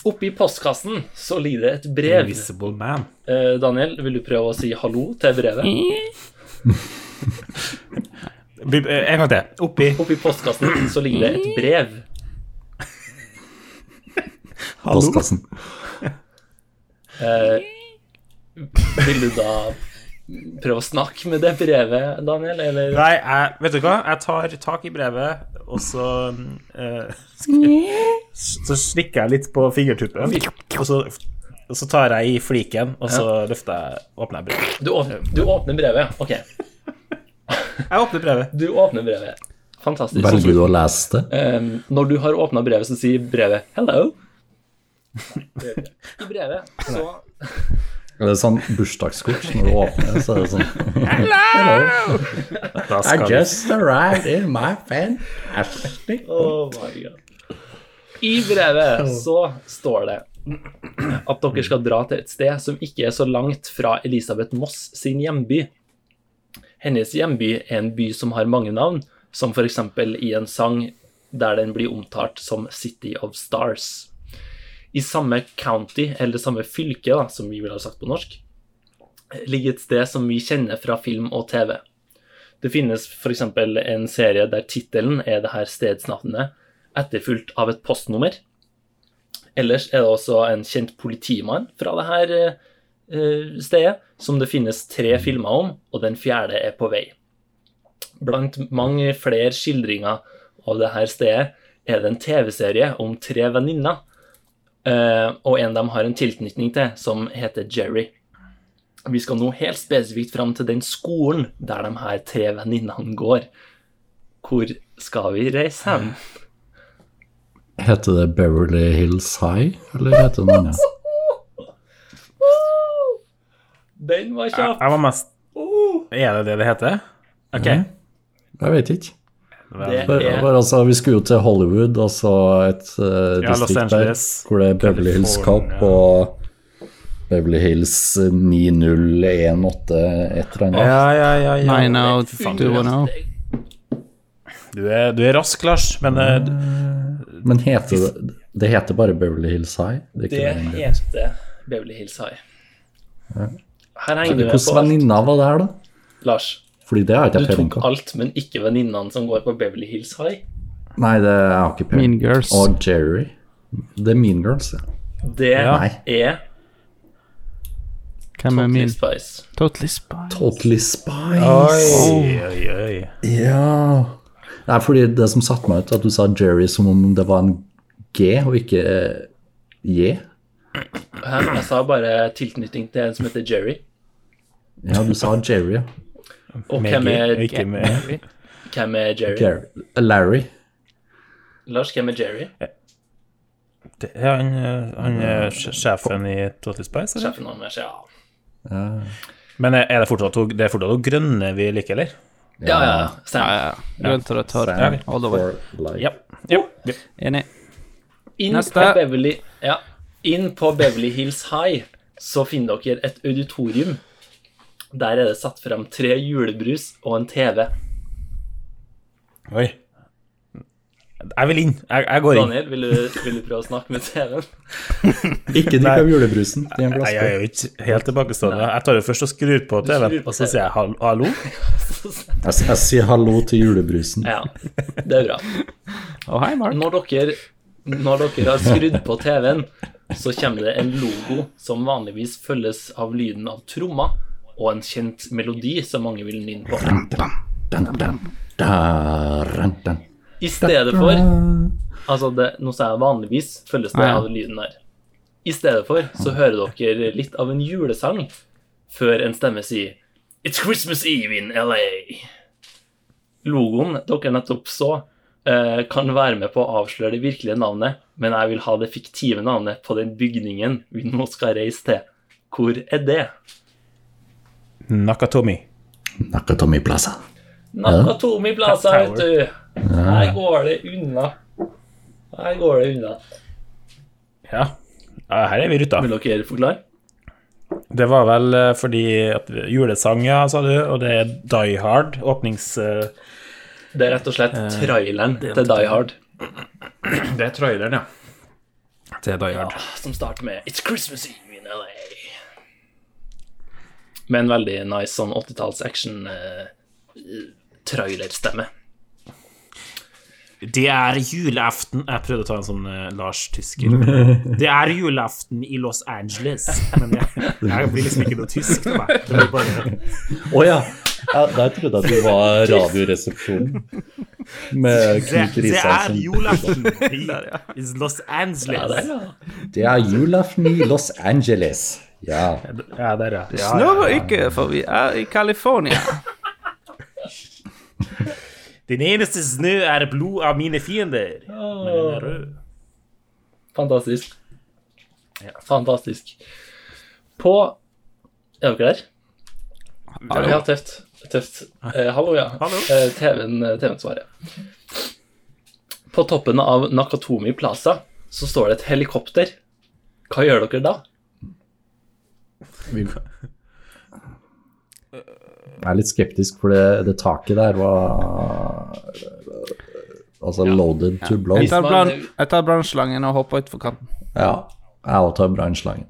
Speaker 1: Oppi postkassen så ligger det et brev.
Speaker 3: Invisible Man.
Speaker 1: Eh, Daniel, vil du prøve å si hallo til brevet?
Speaker 3: Vi- eh, En gang til. Oppi.
Speaker 1: Oppi postkassen så ligger det et brev.
Speaker 3: Hallo.
Speaker 4: Postkassen.
Speaker 1: Eh, vil du da prøve å snakke med det brevet, Daniel, eller
Speaker 3: Nei, jeg, vet du hva? Jeg tar tak i brevet, og så eh, Så slikker jeg litt på fingertuppen, og så, og så tar jeg i fliken, og så løfter jeg åpner jeg brevet.
Speaker 1: du åpner, du åpner brevet? Ok,
Speaker 3: Jeg åpner brevet.
Speaker 1: du åpner brevet. Fantastisk.
Speaker 4: Velger du å lese det?
Speaker 1: Ehm, når du har åpna brevet, så sier brevet 'hello'. I brevet så
Speaker 4: Det er sånn bursdagskort når du åpner, så er det sånn Hello!
Speaker 3: Da skal vi-
Speaker 4: arrived in my fan.
Speaker 1: Oh my god. I brevet så står det at dere skal dra til et sted som ikke er så langt fra Elisabeth Moss sin hjemby. Hennes hjemby er en by som har mange navn, som f.eks. i en sang der den blir omtalt som City of Stars. I samme county, eller samme fylke, da, som vi ville ha sagt på norsk, ligger et sted som vi kjenner fra film og TV. Det finnes f.eks. en serie der tittelen er det her stedsnavnet, etterfulgt av et postnummer. Ellers er det også en kjent politimann fra det her eh, stedet, som det finnes tre filmer om, og den fjerde er på vei. Blant mange flere skildringer av det her stedet er det en TV-serie om tre venninner eh, og en de har en tilknytning til, som heter Jerry. Vi skal nå helt spesifikt fram til den skolen der de her tre venninnene går. Hvor skal vi reise hen?
Speaker 4: Heter det Beverly Hills High, eller heter det noe annet?
Speaker 1: Den var
Speaker 3: Jeg,
Speaker 1: kjapp!
Speaker 3: jeg var mest Er det det det heter? OK.
Speaker 4: Jeg vet ikke.
Speaker 1: Det
Speaker 4: For,
Speaker 1: er
Speaker 4: for altså, vi skulle jo til Hollywood, altså et eh,
Speaker 3: Ja, Los
Speaker 4: distrikt der
Speaker 3: Angeles,
Speaker 4: hvor det er Beverly Hills Cop
Speaker 3: California.
Speaker 4: og Beverly Hills eh, 9018 et eller annet.
Speaker 3: Ja, ja, ja. ja.
Speaker 2: I know, do you know?
Speaker 3: Du, er, du er rask, Lars, men eh, du-
Speaker 4: Men heter det, det heter bare Beverly Hills High? Det er ikke
Speaker 1: Det
Speaker 4: det engang.
Speaker 1: heter Beverly Hills High. Her henger du med
Speaker 4: Hvordan
Speaker 1: på alt.
Speaker 4: venninna var det her, da?
Speaker 1: Lars,
Speaker 4: Fordi det har
Speaker 1: du
Speaker 4: ikke jeg peiling
Speaker 1: tok
Speaker 4: på.
Speaker 1: alt, men ikke venninnene som går på Beverly Hills High.
Speaker 4: Nei, det jeg har ikke peiling.
Speaker 2: Mean Girls.
Speaker 4: Og Jerry. Det er Mean Girls, ja.
Speaker 1: Det
Speaker 4: Nei.
Speaker 1: er
Speaker 2: Hvem er
Speaker 1: Totally
Speaker 2: min?
Speaker 1: Spice.
Speaker 2: Totally Spice.
Speaker 4: Totally Spice.
Speaker 3: Oi, oi, oi.
Speaker 4: Ja Nei, fordi det som satte meg ut, at du sa Jerry som om det var en G og ikke eh, J.
Speaker 1: Her, jeg sa bare tilknytning til en som heter Jerry.
Speaker 4: Ja, du sa Jerry, ja.
Speaker 1: Og
Speaker 3: Med
Speaker 1: hvem
Speaker 3: G,
Speaker 1: er,
Speaker 3: ikke med
Speaker 1: hvem er Jerry?
Speaker 4: Gary. Larry.
Speaker 1: Lars, hvem er Jerry?
Speaker 3: Det er han, eh, han er sj- sjefen i Totally Spice, eller?
Speaker 1: Sjefen hans, ja.
Speaker 3: Men eh, er er det fortsatt hun- det er fortsatt hun grønne vi liker, eller?
Speaker 1: Ja, ja, ja.
Speaker 2: Ja,
Speaker 1: Stem.
Speaker 2: ja. Grønt og rødt hår.
Speaker 4: Sam
Speaker 2: All the way.
Speaker 4: for life.
Speaker 3: Ja. Jo. Ja.
Speaker 2: Enig.
Speaker 1: Inn
Speaker 2: Neste.
Speaker 1: på Beverly Ja. Inn på Beverly Hills High så finner dere et auditorium. Der er det satt frem tre julebrus og en TV.
Speaker 3: Oi. Jeg vil inn. Jeg, jeg går inn.
Speaker 1: Daniel, vil du, vil du prøve å snakke med TV-en?
Speaker 4: Ikke drikk av julebrusen. Det er en
Speaker 3: Nei, jeg er
Speaker 4: glasskål.
Speaker 3: jo ikke helt tilbakestående. Jeg tar jo først og skrur på TV-en,
Speaker 1: skrur på
Speaker 3: og så sier jeg hall- hallo.
Speaker 4: Jeg, jeg sier hallo til julebrusen.
Speaker 1: Ja, det er bra.
Speaker 2: Og hei, Mark.
Speaker 1: Når dere, når dere har skrudd på TV-en, så kommer det en logo som vanligvis følges av lyden av trommer og en kjent melodi som mange vil nynne på.
Speaker 4: Dun, dun, dun, dun.
Speaker 1: I stedet for Altså, det, nå sa jeg vanligvis følges det
Speaker 2: Ja.
Speaker 1: av lyden der. I stedet for så hører dere litt av en julesang før en stemme sier It's Christmas Eve in LA. Logoen dere nettopp så, eh, kan være med på å avsløre det virkelige navnet, men jeg vil ha det fiktive navnet på den bygningen vi nå skal reise til. Hvor er det?
Speaker 3: Nakatomi.
Speaker 4: Nakatomi Plaza.
Speaker 1: Nakatomi Plaza, vet
Speaker 3: Tower.
Speaker 1: du. Her går det unna. Her går det unna.
Speaker 3: Ja. Ja, Her er vi i ruta.
Speaker 1: Vil dere forklare?
Speaker 3: Det var vel eh, fordi at vi- julesang, ja, sa du, og det er Die Hard, åpnings... eh,
Speaker 1: Det er rett og slett traileren til Die Hard
Speaker 3: Det er traileren, ja. Det er Die Hard.
Speaker 1: som starter med It's Christmas Eve in LA. Med en veldig nice sånn 80-talls action eh, trailerstemme.
Speaker 3: Det er julaften Jeg prøvde å ta en sånn eh, Lars Tysker. Det er julaften i Los Angeles. Men jeg, jeg blir liksom ikke noe tysk til meg. Det blir bare
Speaker 4: Å ja. ja. Der trodde jeg at du var Radioresepsjonen. Med
Speaker 3: Det,
Speaker 4: Knut
Speaker 3: det er
Speaker 4: Risasen.
Speaker 3: julaften i Los Angeles.
Speaker 4: Det er julaften i Los Angeles. Ja.
Speaker 3: Ja, der, ja. ja, ja.
Speaker 2: Snø og ikke, for vi er i California.
Speaker 3: Din eneste snø er blod av mine fiender. Men den er rød.
Speaker 1: Fantastisk. Fantastisk. På Er dere der? Ja,
Speaker 2: Hallo.
Speaker 1: tøft. tøft. Eh, hallo, ja.
Speaker 3: Hallo.
Speaker 1: Eh, TV-en eh, TV-en svarer. På toppen av Nakatomi Plaza så står det et helikopter. Hva gjør dere da?
Speaker 4: Vi... Jeg er litt skeptisk, for det, det taket der var Altså loaded to blow.
Speaker 2: Jeg
Speaker 4: Ja,
Speaker 2: tar, brann, jeg tar brannslangen og hopper utfor kanten.
Speaker 4: jeg òg tar brannslangen.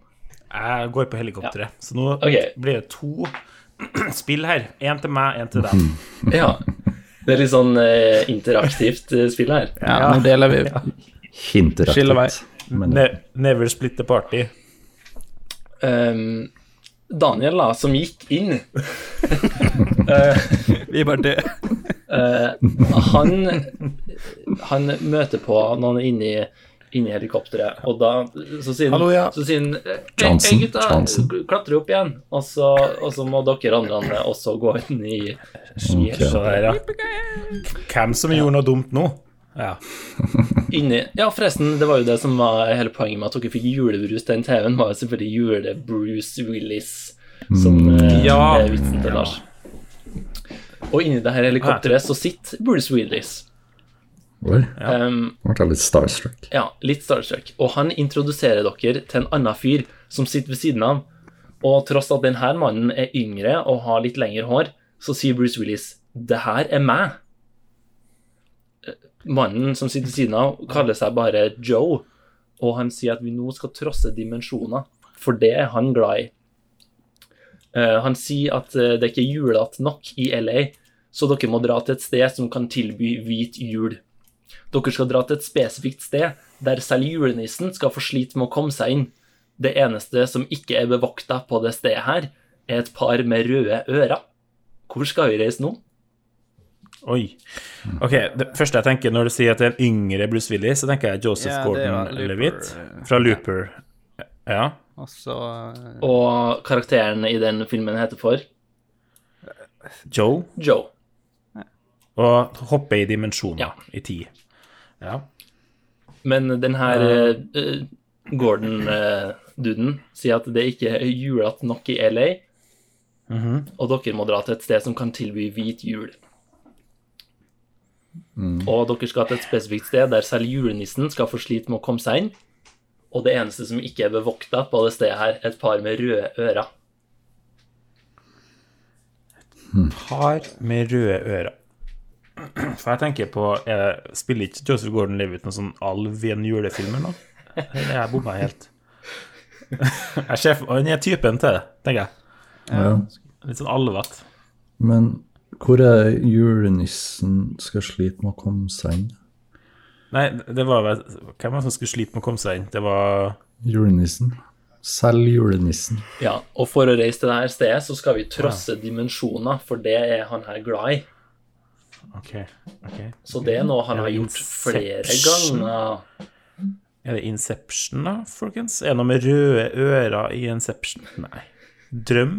Speaker 3: Jeg går på helikopteret. Så nå
Speaker 1: Ok.
Speaker 3: blir det to spill her. Én til meg, én til deg.
Speaker 1: Ja. Det er litt sånn eh, interaktivt eh, spill her.
Speaker 2: Ja, Nå deler vi.
Speaker 4: Hinter
Speaker 2: Skiller vei.
Speaker 4: Men
Speaker 3: Ne never split the party.
Speaker 1: Ehm, Daniel, da, som gikk inn,
Speaker 2: Vi er bare det.
Speaker 1: han, han møter på noen inne i inni helikopteret. Og da så sier han,
Speaker 3: Hallo, ja.
Speaker 1: så sier han «Hei,
Speaker 4: Johnson,
Speaker 1: Hei, gutta,
Speaker 4: Johnson.
Speaker 1: klatre opp igjen. Og så, og så må dere andre andre også gå inn i
Speaker 4: Ok.
Speaker 3: Så der, ja. Hvem som gjorde noe dumt nå? Ja.
Speaker 1: inni Ja, forresten, det var jo det som var hele poenget med at dere fikk julebrus til den TV-en, var jo selvfølgelig jule-Bruce Willis, som eh,
Speaker 3: Ja.
Speaker 1: er vitsen til Lars. Og inni det her helikopteret så sitter Bruce Willis.
Speaker 4: Oi,
Speaker 1: Um,
Speaker 4: nå ble jeg litt starstruck.
Speaker 1: ja, litt starstruck. Og han introduserer dere til en annen fyr som sitter ved siden av. Og tross at denne mannen er yngre og har litt lengre hår, så sier Bruce Willis det her er meg. Eh, Mannen som sitter ved siden av, kaller seg bare Joe, og han sier at vi nå skal trosse dimensjoner, for det er han glad i. Eh, han sier at eh, det er ikke julete nok i LA, så dere må dra til et sted som kan tilby hvit jul. Dere skal dra til et spesifikt sted der selv julenissen skal få slite med å komme seg inn. Det eneste som ikke er bevokta på det stedet her, er et par med røde ører. Hvor skal vi reise nå?
Speaker 3: Oi. Ok, Det første jeg tenker når du sier at det er en yngre Bruce Willis, så tenker jeg Joseph
Speaker 2: Ja, det var Looper.
Speaker 3: Gordon-Levitt fra Looper. Ja.
Speaker 2: Og så eh,
Speaker 1: Og karakteren i den filmen heter for
Speaker 3: Joe.
Speaker 1: Joe.
Speaker 3: Og hoppe i dimensjoner
Speaker 1: Ja.
Speaker 3: i tid. Ja.
Speaker 1: Men den her eh, Gordon-duden sier at det ikke er julete nok i LA, og dere må dra til et sted som kan tilby hvit jul. Og dere skal til et spesifikt sted der selv julenissen skal få slite med å komme seg inn. Og det eneste som ikke er bevokta på det stedet her, er et par med røde ører.
Speaker 3: Par med røde ører. For jeg tenker på eh, Spiller ikke Joseph Gordon-Levitt noen sånn alv i en julefilm eller noe? Eller Jeg bomma helt. Jeg ser for Han er typen til det, tenker jeg.
Speaker 4: Ja.
Speaker 3: Litt sånn alvete.
Speaker 4: Men hvor er julenissen skal slite med å komme seg inn?
Speaker 3: Nei, det var vel Hvem var det som skulle slite med å komme seg inn? Det var
Speaker 4: Julenissen? Selv julenissen.
Speaker 1: Ja, og for å reise til det her stedet, så skal vi trosse dimensjoner, for det er han her glad i.
Speaker 3: Ok, ok.
Speaker 1: Så det er noe han
Speaker 3: Ja,
Speaker 1: har gjort flere
Speaker 3: Inception.
Speaker 1: ganger.
Speaker 3: Er det Inception, da, folkens? Er det noe med røde ører i Inception? Nei. Drøm?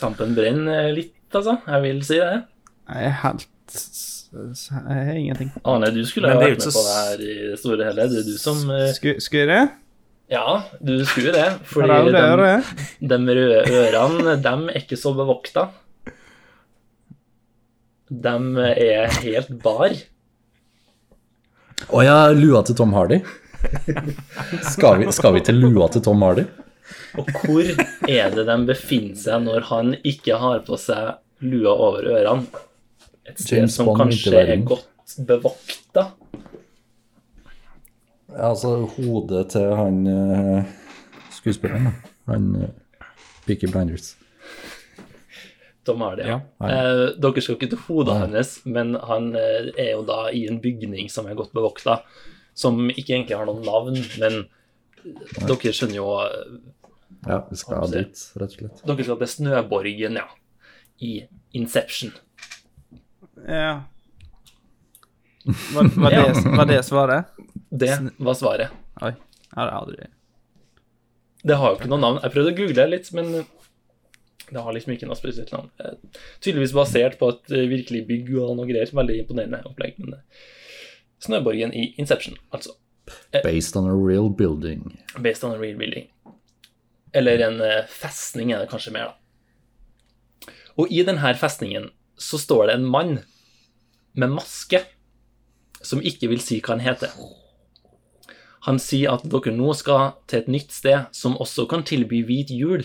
Speaker 1: Tampen brenner litt, altså. Jeg vil si det.
Speaker 2: Jeg er helt s- s- Jeg har ingenting.
Speaker 1: Arne, du skulle
Speaker 3: Men
Speaker 1: ha
Speaker 3: det er
Speaker 1: vært
Speaker 3: jo
Speaker 1: med
Speaker 3: ikke
Speaker 1: på det
Speaker 3: så
Speaker 1: her i det store hele. Det er du som eh,
Speaker 2: Sku- Skulle jeg?
Speaker 1: Ja, du skulle det.
Speaker 2: Har
Speaker 1: Fordi
Speaker 2: jeg aldri
Speaker 1: de,
Speaker 2: hørt det?
Speaker 1: de røde ørene, dem er ikke så bevokta. Dem er helt bar.
Speaker 4: Å ja, lua til Tom Hardy. Skal vi, skal vi til lua til Tom Hardy?
Speaker 1: Og hvor er det de befinner seg når han ikke har på seg lua over ørene? Et sted
Speaker 4: James
Speaker 1: som
Speaker 4: Bond
Speaker 1: kanskje
Speaker 4: vinterverden.
Speaker 1: er godt bevokta.
Speaker 4: Ja, altså hodet til han eh, skuespilleren, da. Han uh, Peaky Blinders.
Speaker 1: Tom Hardy.
Speaker 3: Ja.
Speaker 1: Ja.
Speaker 4: Ja.
Speaker 1: Eh, dere skal ikke til hodet hennes, men han eh, er jo da i en bygning som er godt bevokta, som ikke egentlig har noen navn, men dere skjønner jo eh,
Speaker 4: Ja, vi skal dit, rett og slett.
Speaker 1: Dere skal til Snøborgen, ja. I Inception.
Speaker 2: Ja. Var, var, det, var det svaret?
Speaker 1: Det var svaret.
Speaker 2: Oi. Jeg har aldri
Speaker 1: Det har jo ikke noe navn. Jeg prøvde å google litt, men eh, det har liksom ikke noe spesielt navn. Eh, Tydeligvis basert på et eh, virkelig bygg og noe greier. Veldig imponerende opplegg. Men eh, Snøborgen i Inception, altså.
Speaker 4: Based on a real building.
Speaker 1: Based on a real building. Eller en eh, festning er det kanskje mer, da. Og i denne festningen så står det en mann med maske som ikke vil si hva han heter. Han sier at dere nå skal til et nytt sted som også kan tilby hvit jul,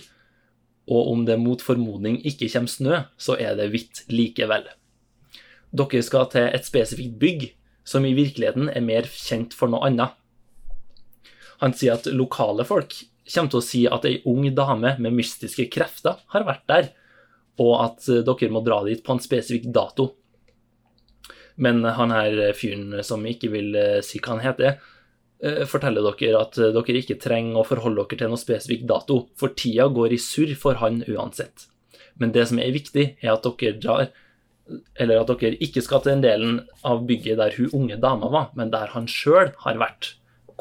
Speaker 1: og om det mot formodning ikke kommer snø, så er det hvitt likevel. Dere skal til et spesifikt bygg som i virkeligheten er mer kjent for noe annet. Han sier at lokale folk kommer til å si at ei ung dame med mystiske krefter har vært der, og at eh, dere må dra dit på en spesifikk dato. Men han her fyren som ikke vil eh, si hva han heter, eh, forteller dere at eh, dere ikke trenger å forholde dere til noen spesifikk dato, for tida går i surr for han uansett. Men det som er viktig, er at dere drar eller at dere ikke skal til den delen av bygget der hun unge dama var, men der han sjøl har vært.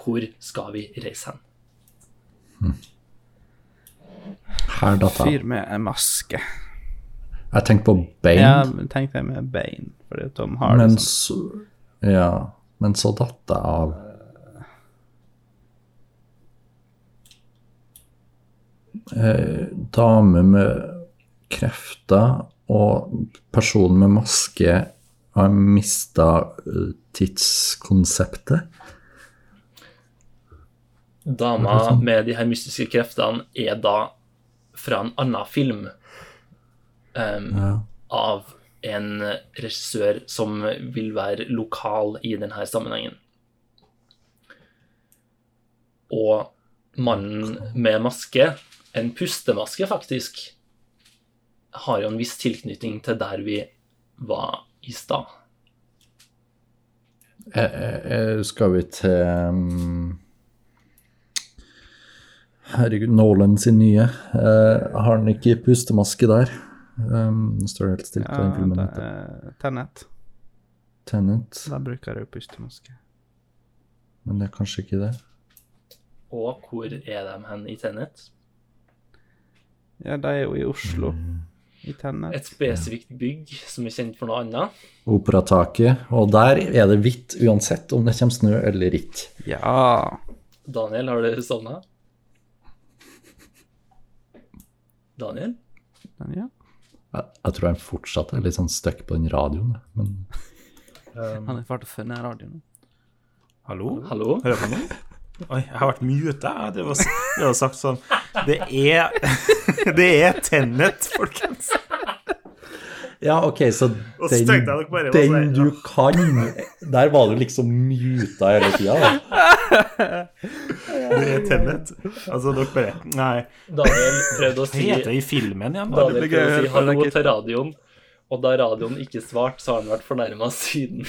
Speaker 1: Hvor skal vi reise hen?
Speaker 4: Her datt jeg.
Speaker 2: Fyr med en maske.
Speaker 4: Jeg tenkte på Bane,
Speaker 2: Ja, tenk deg med bein, fordi Tom Hardy
Speaker 4: men
Speaker 2: sånn.
Speaker 4: så Ja, men så datt jeg av. Eh, dame med krefter og personen med maske har mista tidskonseptet.
Speaker 1: Dama med de her mystiske kreftene er da fra en annen film em, av en regissør som vil være lokal i denne sammenhengen. Og mannen med maske, en pustemaske faktisk, har jo en viss tilknytning til der vi var i stad.
Speaker 4: Eh, eh, eh, Skal vi til um, Herregud, Nolan sin nye. Eh, har han ikke pustemaske der? Um, nå står det helt stille på den
Speaker 2: Ja,
Speaker 4: filmen.
Speaker 2: da,
Speaker 4: heter.
Speaker 2: eh, Tenet.
Speaker 4: Tenet,
Speaker 2: Da bruker jeg jo pustemaske.
Speaker 4: men det er kanskje ikke det.
Speaker 1: Og hvor er de hen i Tenet?
Speaker 2: Ja, de er jo i Oslo. I Tenet.
Speaker 1: Et spesifikt bygg som er kjent for noe annet.
Speaker 4: Operataket. Og der er det hvitt uansett om det kommer snø eller ikke.
Speaker 2: Ja.
Speaker 1: Daniel, har du sovna? Daniel?
Speaker 2: Men ja.
Speaker 4: Jeg, jeg tror han fortsatt er litt sånn stuck på den radioen, men
Speaker 2: Han er fart og funnet radioen.
Speaker 3: Hallo?
Speaker 1: Hallo?
Speaker 3: Hører du meg nå? Oi, jeg har vært muta. jeg. Det var, det var sagt sånn Det er Det er Tenet, folkens.
Speaker 4: Ja, ok, så
Speaker 3: Og så
Speaker 4: den,
Speaker 3: tenkte jeg nok bare,
Speaker 4: den
Speaker 3: hva så er-
Speaker 4: du kan Der var du liksom muta hele tida.
Speaker 3: Det er Tenet. Altså, dere bare Nei.
Speaker 1: Daniel prøvde å
Speaker 3: Hva
Speaker 1: si,
Speaker 3: heter det i filmen igjen? da?
Speaker 1: Daniel prøvde å si
Speaker 2: Hva er det
Speaker 1: hallo
Speaker 2: ikke-
Speaker 1: til radioen, og da radioen ikke svarte, så har han vært fornærma siden.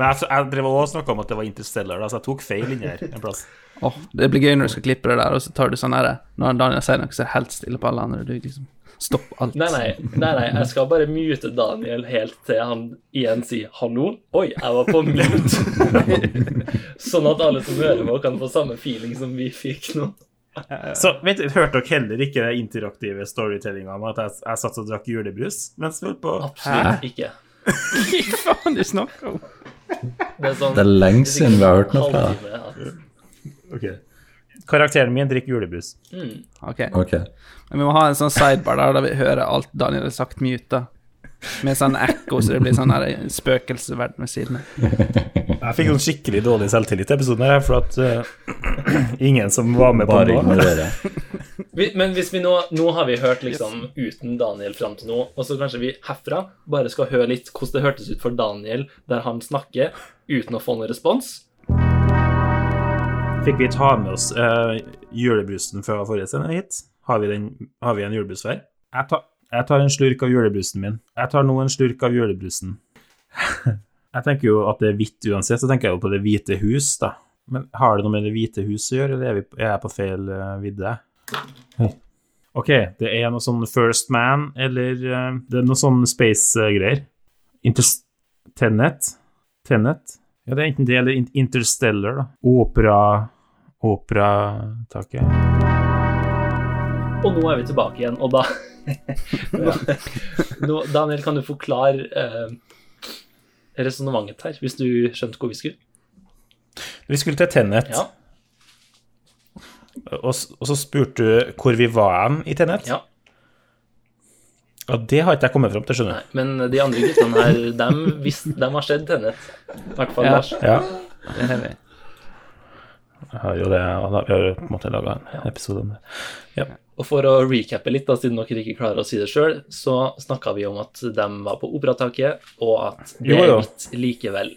Speaker 3: Men jeg, jeg drev også og snakka om at det var Interstellar, da, så jeg tok feil inni her en plass.
Speaker 2: Åh, det blir gøy når du skal klippe det der, og så tar du sånn herre Når Daniel sier noe, så er det helt stille på alle andre. Du liksom Stopp alt.
Speaker 1: Nei, nei, nei, nei, jeg skal bare mute Daniel helt til han igjen sier hallo. Oi, jeg var på mute. sånn at alle som hører på, kan få samme feeling som vi fikk nå.
Speaker 3: Så vet, du, Hørte dere heller ikke den interaktive storytellinga om at jeg, jeg satt og drakk julebrus mens vi holdt på?
Speaker 1: Absolutt ikke.
Speaker 2: Hva faen du snakker om?
Speaker 1: Det er, sånn,
Speaker 4: Det er lenge siden vi har hørt noe fra deg.
Speaker 1: halvtime at-
Speaker 3: Karakteren min drikker julebrus.
Speaker 2: Ok,
Speaker 4: Ok.
Speaker 2: men vi må ha en sånn sidebar der der vi hører alt Daniel har sagt muta. Med sånn ekko, så det blir sånn her spøkelsesverden ved siden av.
Speaker 3: Jeg fikk sånn skikkelig dårlig selvtillit i episoden her, for at eh, ingen som var med på
Speaker 4: Bare
Speaker 3: nå
Speaker 4: ignorere.
Speaker 1: Vi, men hvis vi nå, nå har vi hørt liksom uten Daniel fram til nå, og så kanskje vi herfra bare skal høre litt hvordan det hørtes ut for Daniel der han snakker uten å få noen respons.
Speaker 3: Fikk vi ta med oss eh, julebrusen fra forrige sending hit? Har vi, den, har vi en julebrus hver? Jeg, tar- jeg tar en slurk av julebrusen min. Jeg tar nå en slurk av julebrusen. jeg tenker jo at det er hvitt uansett, så tenker jeg jo på Det hvite hus, da. Men har det noe med Det hvite hus å gjøre, eller er, vi, er jeg på feil eh, vidde? OK, det er noe sånn First Man, eller eh, Det er noe sånn space-greier. Interst... Tenet? Tenet? Ja, det er enten det eller In- Interstellar, da. Opera Operataket.
Speaker 1: Og nå er vi tilbake igjen, og da nå, Daniel, kan du forklare eh, resonnementet her, hvis du skjønte hvor vi skulle?
Speaker 3: Vi skulle til Tenet,
Speaker 1: Ja.
Speaker 3: og, s- og så spurte du hvor vi var hen i Tenet.
Speaker 1: ja.
Speaker 3: Og det har ikke jeg kommet fram til, skjønner
Speaker 1: Nei,
Speaker 3: du.
Speaker 1: men de andre guttene her, dem, visste- dem har sett Tennet. I hvert fall
Speaker 2: Ja.
Speaker 1: Lars.
Speaker 3: Ja,
Speaker 2: Det har vi.
Speaker 3: jeg har jo det, og da, vi har jo på en måte laga en episode om det.
Speaker 1: Og for å recappe litt, da, siden dere ikke klarer å si det sjøl, så snakka vi om at de var på Operataket, og at det
Speaker 3: Jo, jo.
Speaker 1: er litt likevel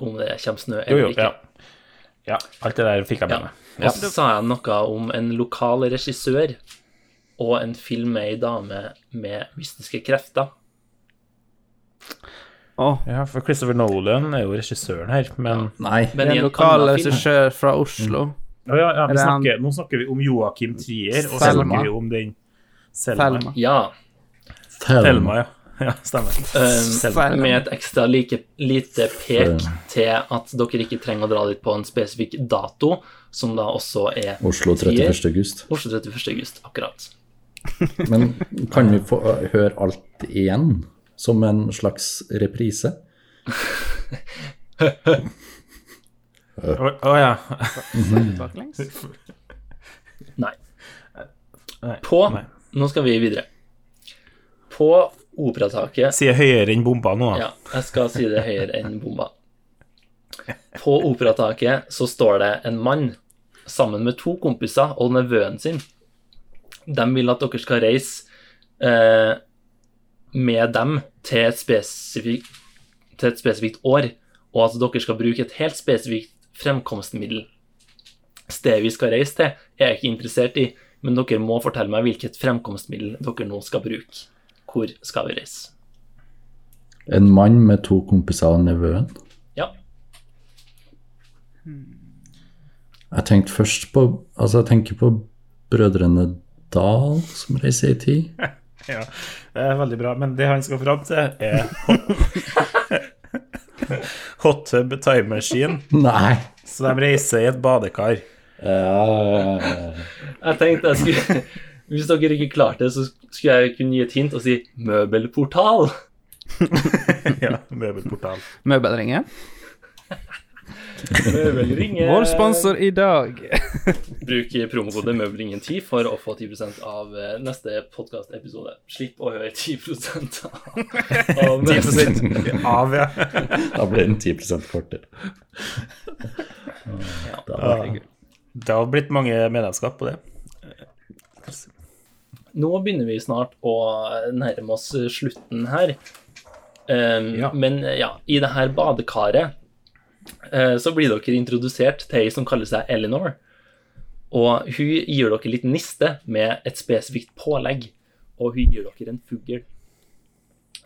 Speaker 1: om det kommer snø
Speaker 3: Jo,
Speaker 1: eller
Speaker 3: jo,
Speaker 1: ikke.
Speaker 3: ja. ja. Alt det der fikk jeg
Speaker 1: Ja.
Speaker 3: med meg.
Speaker 1: Og så sa jeg noe om en lokal regissør og en film med ei dame med mystiske krefter.
Speaker 2: Åh,
Speaker 3: Ja, for Christopher Nolan er jo regissøren her, men
Speaker 4: Nei.
Speaker 1: Men
Speaker 2: det
Speaker 1: i
Speaker 2: er en
Speaker 1: en
Speaker 2: lokal
Speaker 1: annen film
Speaker 2: regissør fra Oslo.
Speaker 3: Å ja, ja, vi
Speaker 2: Er det han-
Speaker 3: snakker, Nå snakker vi om Joakim Trier, og så
Speaker 2: Selma.
Speaker 3: snakker vi om den Selma.
Speaker 2: Thelma.
Speaker 1: Ja.
Speaker 4: Thelma.
Speaker 3: Thelma, ja. Ja, stemmer.
Speaker 1: Eh,
Speaker 2: Selv.
Speaker 1: med et ekstra like, lite pek til at dere ikke trenger å dra dit på en spesifikk dato, som da også er
Speaker 4: Oslo 31. august.
Speaker 1: Oslo 31. august, akkurat.
Speaker 4: Men kan vi få eh, høre alt igjen? Som en slags reprise?
Speaker 3: Å å, ja.
Speaker 2: Baklengs?
Speaker 1: Nei.
Speaker 3: Nei,
Speaker 1: På
Speaker 3: nei.
Speaker 1: Nå skal vi videre. På operataket
Speaker 3: Sier høyere enn bomba nå, da.
Speaker 1: Ja, jeg skal si det høyere enn bomba. På operataket så står det en mann sammen med to kompiser og nevøen sin. De vil at dere skal reise eh, med dem til et, spesifik, til et spesifikt år, og at dere skal bruke et helt spesifikt fremkomstmiddel. Stedet vi skal reise til, er jeg ikke interessert i, men dere må fortelle meg hvilket fremkomstmiddel dere nå skal bruke. Hvor skal vi reise?
Speaker 4: En mann med to kompiser og nevøen.
Speaker 1: Ja.
Speaker 4: Jeg tenkte først på Altså, jeg tenker på Brødrene Dal, som reiser i tid.
Speaker 3: Ja, det er veldig bra. Men det han skal fram til, er hot tub time machine.
Speaker 4: Nei!
Speaker 3: Så de reiser i et badekar.
Speaker 1: Jeg tenkte jeg skulle Hvis dere ikke klarte det, så skulle jeg kunne gi et hint og si møbelportal.
Speaker 3: Ja, møbelportal.
Speaker 2: Møbelringen?
Speaker 1: Møbelringe.
Speaker 2: Vår sponsor i dag.
Speaker 1: Bruk promokode møbelringen10 for å få 10 av eh, neste podkastepisode. Slipp å høre 10 av av
Speaker 3: 10 av, ja.
Speaker 4: da ble den 10 kortere. Da var det
Speaker 3: Det har blitt mange medlemskap på det.
Speaker 1: Nå begynner vi snart å nærme oss slutten her. Um,
Speaker 3: Ja.
Speaker 1: Men ja, i det her badekaret eh, så blir dere introdusert til ei som kaller seg Eleanor. Og hun gir dere litt niste med et spesifikt pålegg, og hun gir dere en fugl.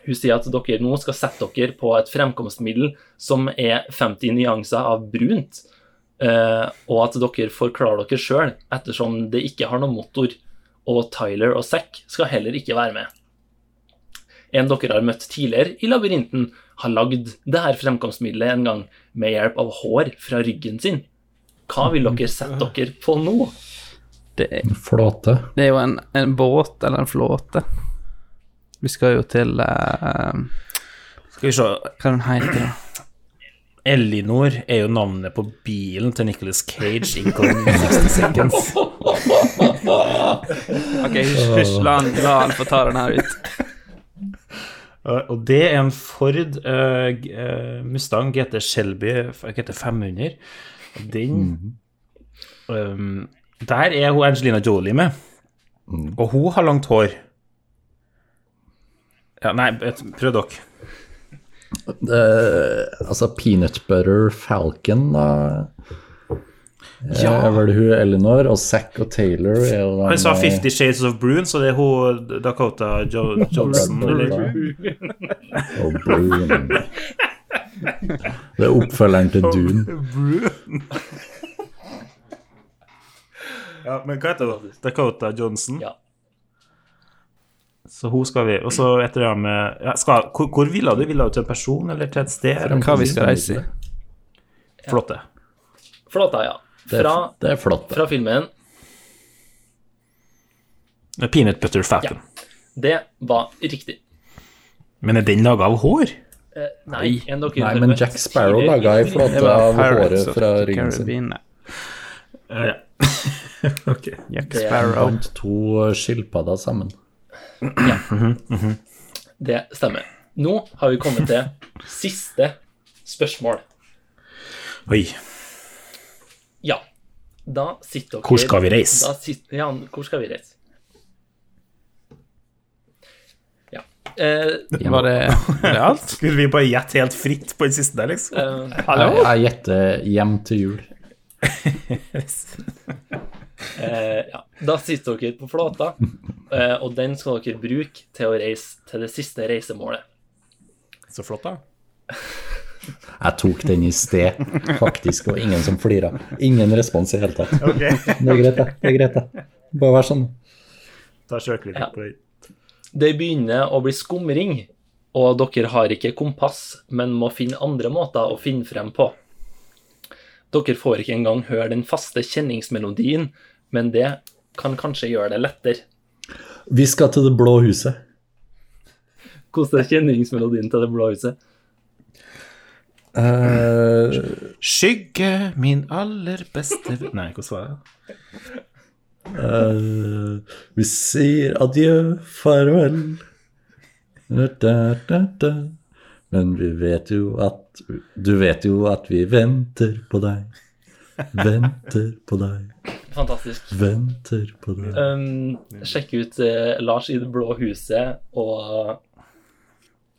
Speaker 1: Hun sier at dere nå skal sette dere på et fremkomstmiddel som er 50 nyanser av brunt, eh, og at dere forklarer dere sjøl, ettersom det ikke har noen motor og Tyler og Zack skal heller ikke være med. En dere har møtt tidligere i labyrinten, har lagd det her fremkomstmiddelet en gang med hjelp av hår fra ryggen sin. Hva vil dere sette dere på nå?
Speaker 2: Det er,
Speaker 4: Flåte.
Speaker 2: det er jo en, en båt eller en flåte. Vi skal jo til eh,
Speaker 3: Skal vi se.
Speaker 2: Hva er den heter den?
Speaker 3: Elinor er jo navnet på bilen til Nicholas Cage i Gone in 60 Seconds.
Speaker 2: Ok, hysj, hysj, la han, la han få ta den her ut.
Speaker 3: Og Eh, og det er en Ford eh, g- eh, Mustang GT Shelby f- GT 500. Den um, Der er hun Angelina Jolie med. Og hun har langt hår. Ja, nei, et- prøv dere.
Speaker 4: Det- altså Peanut Butter Falcon, da. Ja. Er vel hun Elinor, og Zack og Taylor er jo eh,
Speaker 3: Han sa 'Fifty Shades of Brune', så det er hun Dakota jo Johnson. Eller?
Speaker 4: Og Brune. Det er oppfølgeren til Dune.
Speaker 3: Ja, men hva heter hun? Dakota Johnson.
Speaker 1: Ja.
Speaker 3: Så hun skal vi Og så etter det med ja, skal, hvor, hvor ville du? Ville du til en person eller til et sted? Eller
Speaker 2: Hva vi skal reise i.
Speaker 3: flotte?
Speaker 1: Flata, ja.
Speaker 4: Det er,
Speaker 1: Fra,
Speaker 4: det er flott. da.
Speaker 1: fra filmen
Speaker 3: Peanut Butter Falcon.
Speaker 1: Det var riktig.
Speaker 3: Men er den laga av hår?
Speaker 1: Eh, nei, en dere
Speaker 4: Nei,
Speaker 1: har
Speaker 4: men
Speaker 1: møtt
Speaker 4: Jack Sparrow
Speaker 1: tidligere i
Speaker 4: laga ei
Speaker 1: filmen.
Speaker 4: flåte av håret fra ryggen sin.
Speaker 2: Caribbean. eh,
Speaker 3: Eh, Ja. ok.
Speaker 2: Jack
Speaker 1: Det er
Speaker 2: Sparrow.
Speaker 4: Bandt to eh, skilpadder sammen.
Speaker 1: Det stemmer. Nå har vi kommet til siste spørsmål.
Speaker 3: Oi.
Speaker 1: Ja. Da sitter dere
Speaker 3: Hvor skal vi reise?
Speaker 1: Da sitter, ja, hvor skal vi reise? Ja. Eh,
Speaker 2: Var det, var det alt?
Speaker 3: Skulle vi bare gjette helt fritt på den siste der, liksom?
Speaker 1: eh,
Speaker 4: Jeg, jeg gjetter hjem til jul.
Speaker 1: eh, ja. Da sitter dere på flata, eh, og den skal dere bruke til å reise til det siste reisemålet.
Speaker 3: Så flott, da.
Speaker 4: Jeg tok den i sted, faktisk, og ingen som flira. Ingen respons i hele tatt. Det er greit, det. det er greit, det. Bare vær sånn.
Speaker 3: Ta sjølkritikk
Speaker 1: Ja.
Speaker 3: på den.
Speaker 1: Det begynner å bli skumring, og dere har ikke kompass, men må finne andre måter å finne frem på. Dere får ikke engang høre den faste kjenningsmelodien, men det kan kanskje gjøre det lettere.
Speaker 4: Vi skal til Det blå huset.
Speaker 1: Hvordan er kjenningsmelodien til Det blå huset?
Speaker 4: Eh,
Speaker 3: Skygge, min aller beste venn Nei, hvordan var det?
Speaker 4: eh, vi sier adjø, farvel. Da, da, da, da. Men vi vet jo at Du vet jo at vi venter på deg. Venter på deg,
Speaker 1: Fantastisk.
Speaker 4: venter på deg.
Speaker 1: Um, sjekke ut eh, Lars i Det blå huset og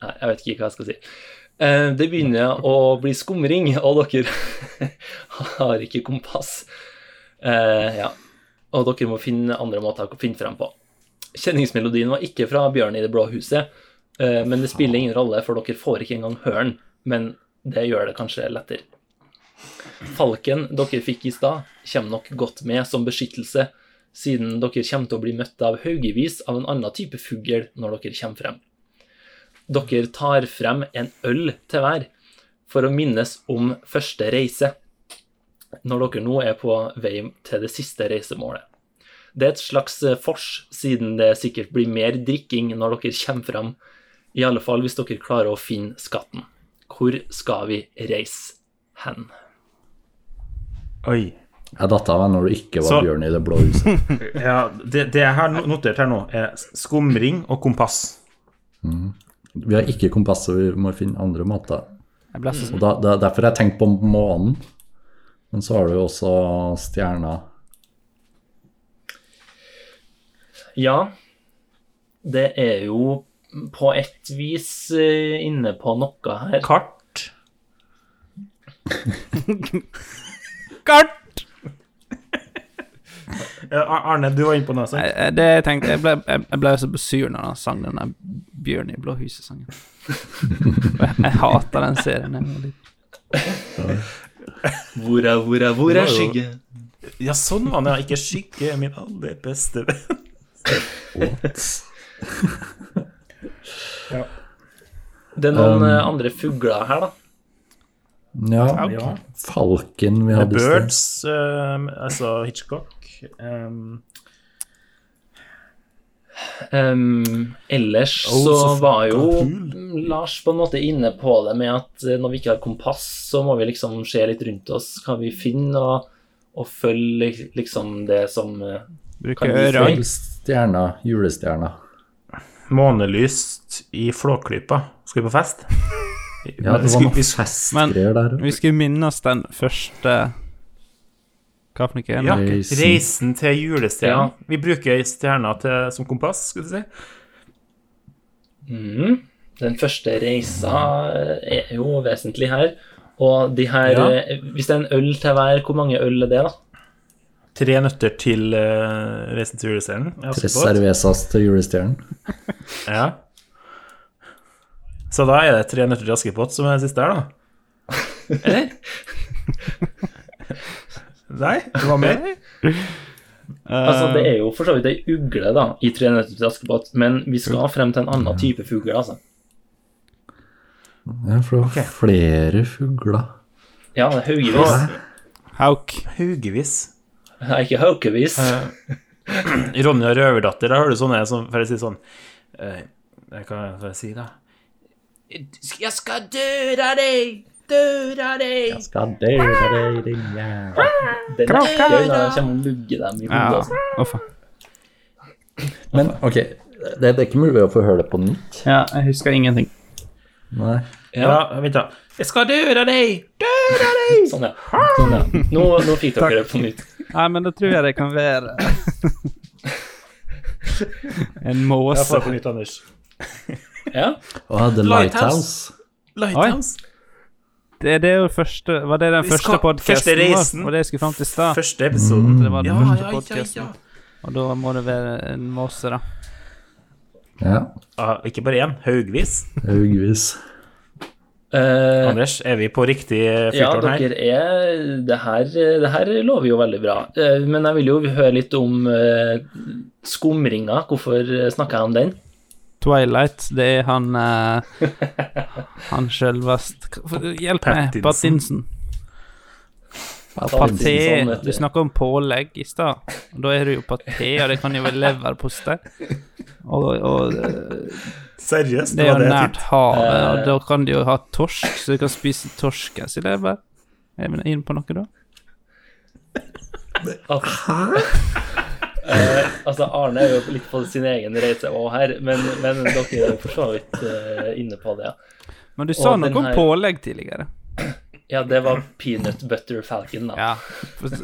Speaker 1: Nei, jeg vet ikke hva jeg skal si. Eh, det begynner å bli skumring, og dere har ikke kompass. Eh, ja. Og dere må finne andre måter å finne frem på. Kjenningsmelodien var ikke fra Bjørn i Det blå huset, eh, men det spiller ingen rolle, for dere får ikke engang høre den. Men det gjør det kanskje lettere. Falken dere fikk i stad, kommer nok godt med som beskyttelse siden dere kommer til å bli møtt av haugevis av en annen type fugl når dere kommer frem. Dere tar frem en øl til hver for å minnes om første reise, når dere nå er på vei til det siste reisemålet. Det er et slags eh, vors, siden det sikkert blir mer drikking når dere kommer frem, i alle fall hvis dere klarer å finne skatten. Hvor skal vi reise hen?
Speaker 3: Oi.
Speaker 4: Jeg datt av meg når du ikke var
Speaker 3: Så-
Speaker 4: Bjørn i Det blå huset.
Speaker 3: Ja, det, det jeg har no- notert her nå, er skumring og kompass.
Speaker 4: Vi har ikke kompass, så vi må finne andre måter.
Speaker 2: Jeg ble så sånn,
Speaker 4: Og da, da, derfor har jeg tenkt på månen. Men så har du jo også stjerna.
Speaker 1: Ja, det er jo på et vis eh, inne på noe her.
Speaker 3: Kart.
Speaker 2: Kart!
Speaker 3: Ja, Ar- Arne, du var inne på noe altså. sånt.
Speaker 2: Jeg- jeg- Det jeg tenkte Jeg ble, jeg, jeg ble så sur når han sang den der Bjørn i Blåhuset-sangen. Jeg, jeg hater den serien. Jeg, var litt-
Speaker 1: Hvor er, hvor er, hvor
Speaker 3: Det
Speaker 1: er
Speaker 3: var jo-
Speaker 1: skygge?
Speaker 3: Ja, sånn var det. ja. Ikke skygge, min aller beste venn.
Speaker 1: Det er noen eh, andre fugler her, da.
Speaker 4: Ja,
Speaker 3: Ja.
Speaker 4: falken vi hadde i sted.
Speaker 3: Birds, um, altså Hitchcock. Um,
Speaker 1: Ehm, ellers
Speaker 3: Oh,
Speaker 1: så
Speaker 3: så
Speaker 1: var jo
Speaker 3: fucka
Speaker 1: Lars på en måte inne på det med at eh, når vi ikke har kompass, så må vi liksom se litt rundt oss hva vi finner, og, og følge liksom det som eh,
Speaker 2: bruker
Speaker 1: Kan vi se?
Speaker 2: øra.
Speaker 4: Følg Stjerna, julestjerna.
Speaker 3: månelyst i Flåklypa. Skal vi på fest?
Speaker 4: Ja, det var
Speaker 3: Skal
Speaker 4: noe
Speaker 3: vi- skal-
Speaker 4: festgreier der.
Speaker 2: Vi skulle minnes den første Hva for noe?
Speaker 3: Ja,
Speaker 4: Reisen.
Speaker 3: reisen til julestjernen.
Speaker 1: Ja.
Speaker 3: Vi bruker stjerna til, som kompass, skal du si.
Speaker 1: Mhm. Den første reisa eh, er jo vesentlig her. Og de her
Speaker 3: Ja.
Speaker 1: eh, Hvis det er en øl til hver, hvor mange øl er det, da?
Speaker 3: Tre nøtter til eh, reisen til julestjernen. Ja,
Speaker 4: Tre
Speaker 3: så godt.
Speaker 4: cervezas til julestjernen.
Speaker 3: Ja. Så da er det tre nøtter til Askepott som er siste her, da.
Speaker 1: Eh,
Speaker 3: Eller? Nei, det var mer.
Speaker 1: Altså, det er jo for så vidt ei ugle da, i 'Tre nøtter til Askepott', men vi skal frem til en annen type fugl, altså.
Speaker 4: Ja, for det var
Speaker 3: Ok.
Speaker 4: flere fugler.
Speaker 1: Ja, det er haugevis.
Speaker 2: Hauk.
Speaker 3: Haugevis.
Speaker 1: Nei, Ikke haukevis.
Speaker 3: Eh, Ronny og røverdatter, da hører du sånne som For å si sånn eh, Hva kan jeg si, da? Jeg skal dø av deg! Dø av deg!
Speaker 4: Skal det være din jævla
Speaker 1: Den er gøy, da. Jeg kommer og lugger dem i hodet.
Speaker 2: Ja.
Speaker 1: altså.
Speaker 2: Å, faen.
Speaker 4: Men ok, det, det er ikke mulig å få høre det på nytt.
Speaker 2: Ja, jeg husker ingenting.
Speaker 4: Nei.
Speaker 3: Ja, vent, da. Jeg skal dø av deg! Dø av deg!
Speaker 1: Sånn, ja. Sånn, ja. Nå, nå fikk dere det på nytt.
Speaker 2: Nei, men da tror jeg det kan være En
Speaker 3: Jeg
Speaker 2: måse.
Speaker 3: får på nytt, Anders.
Speaker 1: Ja.
Speaker 4: Og The
Speaker 3: Lighthouse.
Speaker 4: Lighthouse.
Speaker 3: Lighthouse.
Speaker 2: Det, det er jo første Var det den
Speaker 3: Vi
Speaker 2: første
Speaker 3: skal- første
Speaker 2: podkasten
Speaker 3: reisen.
Speaker 2: vår? Var det jeg skulle fram til i stad?
Speaker 3: Første episoden.
Speaker 2: Mm. Det var den
Speaker 3: Ja,
Speaker 2: første
Speaker 3: ja, ja,
Speaker 2: podcasten.
Speaker 3: ja.
Speaker 2: Og da må det være en måse, da.
Speaker 4: Ja,
Speaker 3: Ah, ikke bare én, haugvis.
Speaker 4: Haugvis.
Speaker 1: Eh,
Speaker 3: Anders, er vi på riktig
Speaker 1: ja,
Speaker 3: fyrtårn her?
Speaker 1: dere er det her, det her lover jo veldig bra. Eh, Men jeg vil jo høre litt om eh, skumringa. Hvorfor snakker jeg om den?
Speaker 2: Twilight. Det er han eh, Han sjølvest eh, Hjelp meg,
Speaker 3: Pattinson.
Speaker 2: Pattinson.
Speaker 1: Pattinson,
Speaker 2: Paté.
Speaker 1: vet du.
Speaker 2: Du snakka om pålegg i stad. Da er det jo paté, og det kan jo være leverpostei. Og, og eh,
Speaker 3: Seriøst?
Speaker 2: det er
Speaker 3: var
Speaker 2: jo
Speaker 3: jeg
Speaker 2: nært
Speaker 3: tenkte.
Speaker 2: havet,
Speaker 1: Eh.
Speaker 2: og da kan de jo ha torsk, så de kan spise torskens lever. Er vi inne på noe da?
Speaker 1: Altså, Arne er jo litt på sin egen reise òg her, men, men dere er jo for så vidt eh, inne på det. ja.
Speaker 2: Men du sa
Speaker 1: Og
Speaker 2: noe
Speaker 1: den
Speaker 2: om
Speaker 1: her-
Speaker 2: pålegg tidligere.
Speaker 1: Ja, det var peanut butter falcon, da.
Speaker 2: Ja.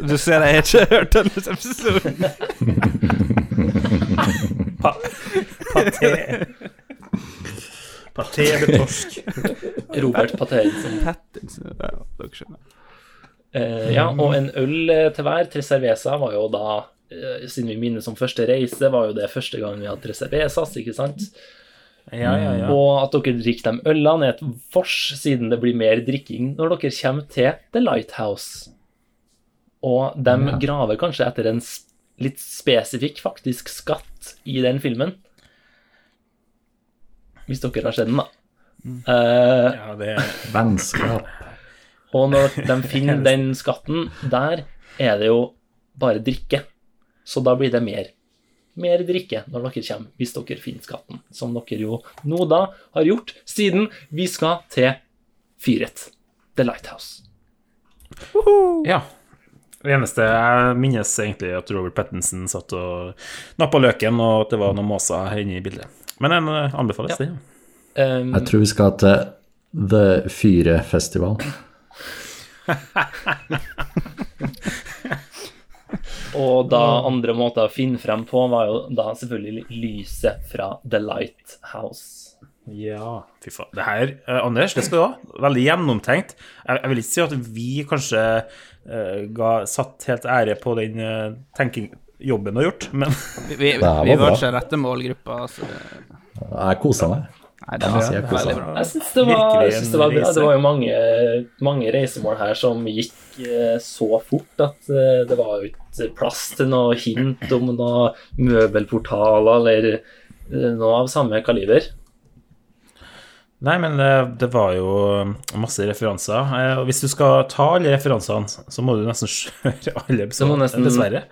Speaker 2: Du ser jeg har ikke hørt denne episoden.
Speaker 3: Paté med torsk.
Speaker 1: Robert Patterson.
Speaker 2: Pattinson. Ja, dere skjønner.
Speaker 1: Eh, ja, og en øl eh, til hver. Tre cerveza var jo da eh, Siden vi minnes om første reise, var jo det første gang vi hadde tre cervezas, ikke sant?
Speaker 3: Ja, ja, ja.
Speaker 1: Og at dere drikker de ølene, er et vors, siden det blir mer drikking når dere kommer til The Lighthouse. Og de graver kanskje etter en s- litt spesifikk, faktisk, skatt i den filmen. Hvis dere har sett den, da. Eh,
Speaker 3: ja det er
Speaker 4: Vennskap.
Speaker 1: og når de finner den skatten der, er det jo bare drikke. Så da blir det mer. Mer drikke når dere kommer, hvis dere finner skatten. Som dere jo nå da har gjort, siden vi skal til Fyret. The Lighthouse.
Speaker 3: Ja. Det eneste jeg minnes egentlig at Robert Pattinson satt og nappa løken, og at det var noen måser inne i bildet. Men den eh, anbefales, det. ja.
Speaker 1: Um,
Speaker 4: Jeg tror vi skal til The Fyrefestival.
Speaker 1: og da andre måter å finne frem på var jo da selvfølgelig lyset fra The Lighthouse.
Speaker 3: Ja. Fy faen. Det her, eh, Anders, det skal du ha. Veldig gjennomtenkt. Jeg, jeg vil ikke si at vi kanskje eh, ga, satt helt ære på den eh, tenking, jobben du har gjort, men
Speaker 2: Vi, vi,
Speaker 4: Det her
Speaker 2: vi
Speaker 4: var
Speaker 2: var
Speaker 4: bra.
Speaker 2: ikke rette målgruppa, så det-
Speaker 4: Jeg koser meg.
Speaker 2: Nei, det
Speaker 4: må
Speaker 2: var
Speaker 4: si altså, jeg koser
Speaker 2: veldig
Speaker 4: meg.
Speaker 2: bra.
Speaker 1: Jeg syns det, var- jeg
Speaker 3: Virkelig en
Speaker 1: synes det var bra.
Speaker 3: reise.
Speaker 1: Det var jo mange, mange reisemål her som gikk eh, så fort at eh, det var jo ikke plass til noe hint om noe møbelportaler eller eh, noe av samme kaliber.
Speaker 3: Nei, men det, det var jo eh, masse referanser. Eh, Og hvis du skal ta alle referansene, så må du nesten kjøre alle
Speaker 1: må
Speaker 3: episoder,
Speaker 1: nesten-
Speaker 3: dessverre.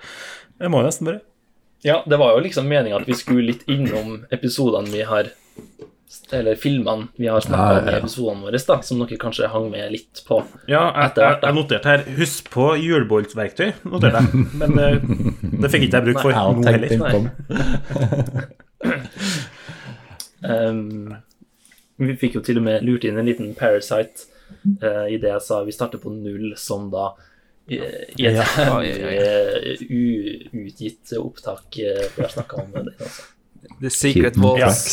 Speaker 3: Det må nesten bare.
Speaker 1: Ja, det var jo liksom meninga at vi skulle litt innom episodene vi har Eller filmene vi har snakka om
Speaker 4: Ja, ja,
Speaker 1: i
Speaker 4: ja.
Speaker 1: episodene våre, da, som dere kanskje hang med litt på.
Speaker 3: Ja, jeg,
Speaker 1: Etter
Speaker 3: jeg,
Speaker 1: hvert, da.
Speaker 3: jeg noterte her Husk på hjulboltverktøy, noterte jeg. Men eh, det fikk ikke jeg bruk for
Speaker 4: Jeg har
Speaker 3: nå
Speaker 4: tenkt
Speaker 3: heller.
Speaker 4: inn på den.
Speaker 1: Ehm, vi fikk jo til og med lurt inn en liten Parasite eh, i det jeg sa vi starter på null, som da eh, i et
Speaker 3: Ja,
Speaker 2: ja, ja,
Speaker 1: hemmelig uutgitt opptak eh, vi har snakka om. Det, altså.
Speaker 2: The Secret Wars.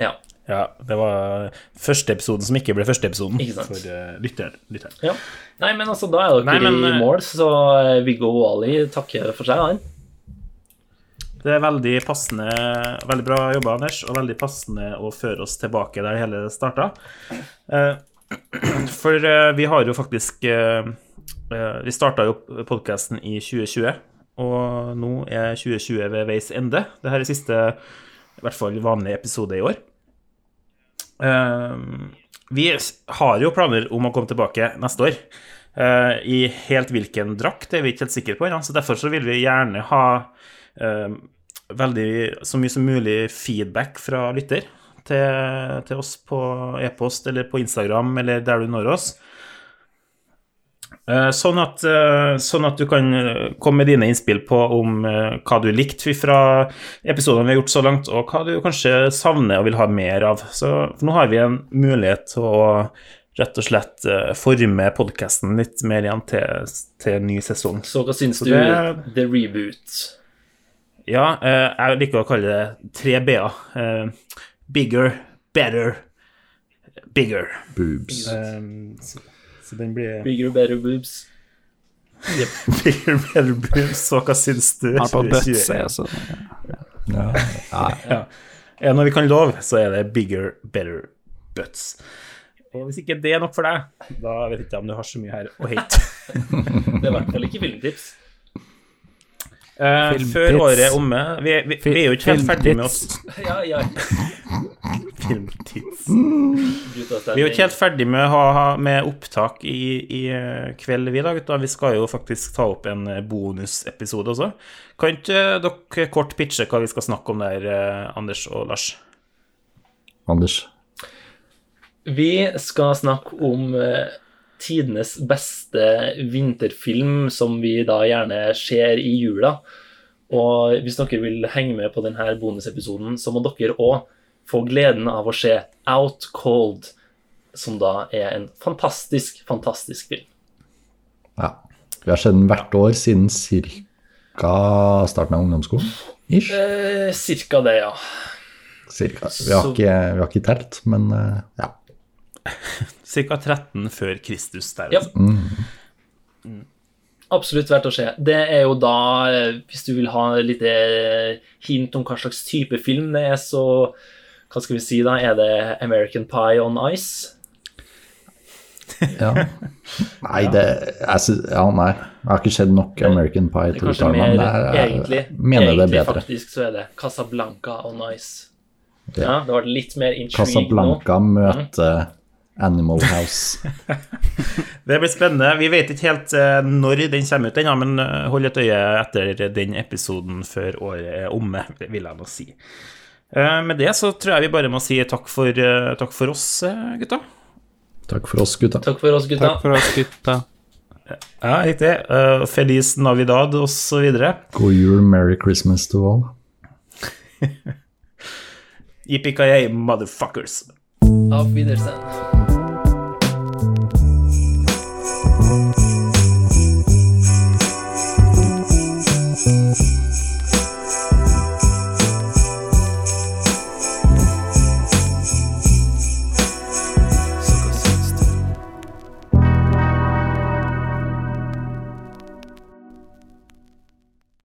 Speaker 1: Ja.
Speaker 3: Ja, det var første episoden som ikke ble første episoden
Speaker 1: Ikke sant.
Speaker 3: for eh, lytteren. lytteren.
Speaker 1: ja. Nei, men altså, da er dere
Speaker 3: Nei, men, eh,
Speaker 1: i mål, så eh, Viggo Wali takker for seg, han.
Speaker 3: Det er veldig passende Veldig bra jobba, Anders, og veldig passende å føre oss tilbake der det hele starta. Eh, For eh, vi har jo faktisk eh, eh, Vi starta jo podkasten i 2020, og nå er 2020 ved veis ende. Det her er siste, i hvert fall vanlige episode i år. Eh, Vi har jo planer om å komme tilbake neste år. Eh, I helt hvilken drakt er vi ikke helt sikre på ennå, så derfor så vil vi gjerne ha eh, veldig, så mye som mulig feedback fra lytter til, til oss på e-post eller på Instagram eller der du når oss. Eh, Sånn at, eh, sånn at du kan eh, komme med dine innspill på om eh, hva du likte fra episodene vi har gjort så langt, og hva du kanskje savner og vil ha mer av. Så for nå har vi en mulighet til å rett og slett eh, forme podkasten litt mer igjen til, til ny sesong.
Speaker 1: Så hva syns du?
Speaker 3: det-
Speaker 1: The Reboot.
Speaker 3: Ja, eh, jeg liker å kalle det tre B-er. Eh, bigger, better, bigger.
Speaker 4: Boobs.
Speaker 3: Eh, så, så den blir
Speaker 1: Bigger, better boobs.
Speaker 3: Bigger, better boobs. Så hva syns du?
Speaker 2: Han er på
Speaker 3: 2021?
Speaker 2: bøtse, altså.
Speaker 4: Ja.
Speaker 3: Er det noe vi kan love, så er det bigger, better butts. Og hvis ikke det er nok for deg, da vet ikke jeg om du har så mye her å hate.
Speaker 1: Det er i hvert fall ikke filmtips.
Speaker 3: Eh,
Speaker 2: Filmpits.
Speaker 3: før året er omme Vi, vi, vi er jo ikke helt ferdig med oss.
Speaker 1: Ja, ja.
Speaker 3: filmtids. Vi
Speaker 1: Vi
Speaker 3: er jo ikke helt ferdig med, å ha- med opptak i, i eh, kveld, vi da, gutta. Vi skal jo faktisk ta opp en eh, bonusepisode også. Kan ikke eh, dere kort pitche hva vi skal snakke om der, eh, Anders og Lars?
Speaker 4: Anders.
Speaker 1: Vi skal snakke om eh, tidenes beste vinterfilm, som vi da gjerne ser i jula. Og hvis dere vil henge med på denne bonusepisoden, så må dere òg få gleden av å se Out Cold, som da er en fantastisk, fantastisk film.
Speaker 4: Ja. Vi har sett den hvert år siden ca. starten av ungdomsskolen. Ish.
Speaker 1: Eh, cirka det, ja.
Speaker 4: Cirka. Vi har
Speaker 1: så-
Speaker 4: ikke, vi har ikke telt, men eh, ja.
Speaker 3: Ca. 13 før Kristus der.
Speaker 1: Ja.
Speaker 3: altså.
Speaker 4: Mm.
Speaker 1: Absolutt verdt å se. Det er jo da, eh, hvis du vil ha litt eh, hint om hva slags type film det er, så hva skal vi si da? Er det American Pie on Ice?
Speaker 4: ja. Nei, det jeg sy Ja, nei. Jeg har ikke sett nok American Pie
Speaker 1: Det er
Speaker 4: til å
Speaker 1: kanskje
Speaker 4: uttale
Speaker 1: mer
Speaker 4: meg, men jeg, jeg
Speaker 1: egentlig.
Speaker 4: mener
Speaker 1: egentlig
Speaker 4: det er bedre.
Speaker 1: faktisk så er det Casablanca on Ice.
Speaker 4: Ja.
Speaker 1: Ja, det var litt mer intrigue nå. Mm.
Speaker 4: Casablanca møter eh, Animal House.
Speaker 3: Det blir spennende. Vi vet ikke helt eh, når den kommer ut, ennå, men eh, hold et øye etter den episoden før året er omme, vil jeg nå si. Eh, Med det så tror jeg vi bare må si takk for, eh, takk for oss, eh, gutta.
Speaker 4: Takk for oss, gutta.
Speaker 1: Takk for oss, gutta.
Speaker 2: Takk for oss, gutta.
Speaker 3: Ja, riktig. Eh, Feliz Navidad og så videre.
Speaker 4: God jul, merry Christmas to all.
Speaker 3: Yippee-ki-yay, motherfuckers.
Speaker 1: Auf Wiedersehen.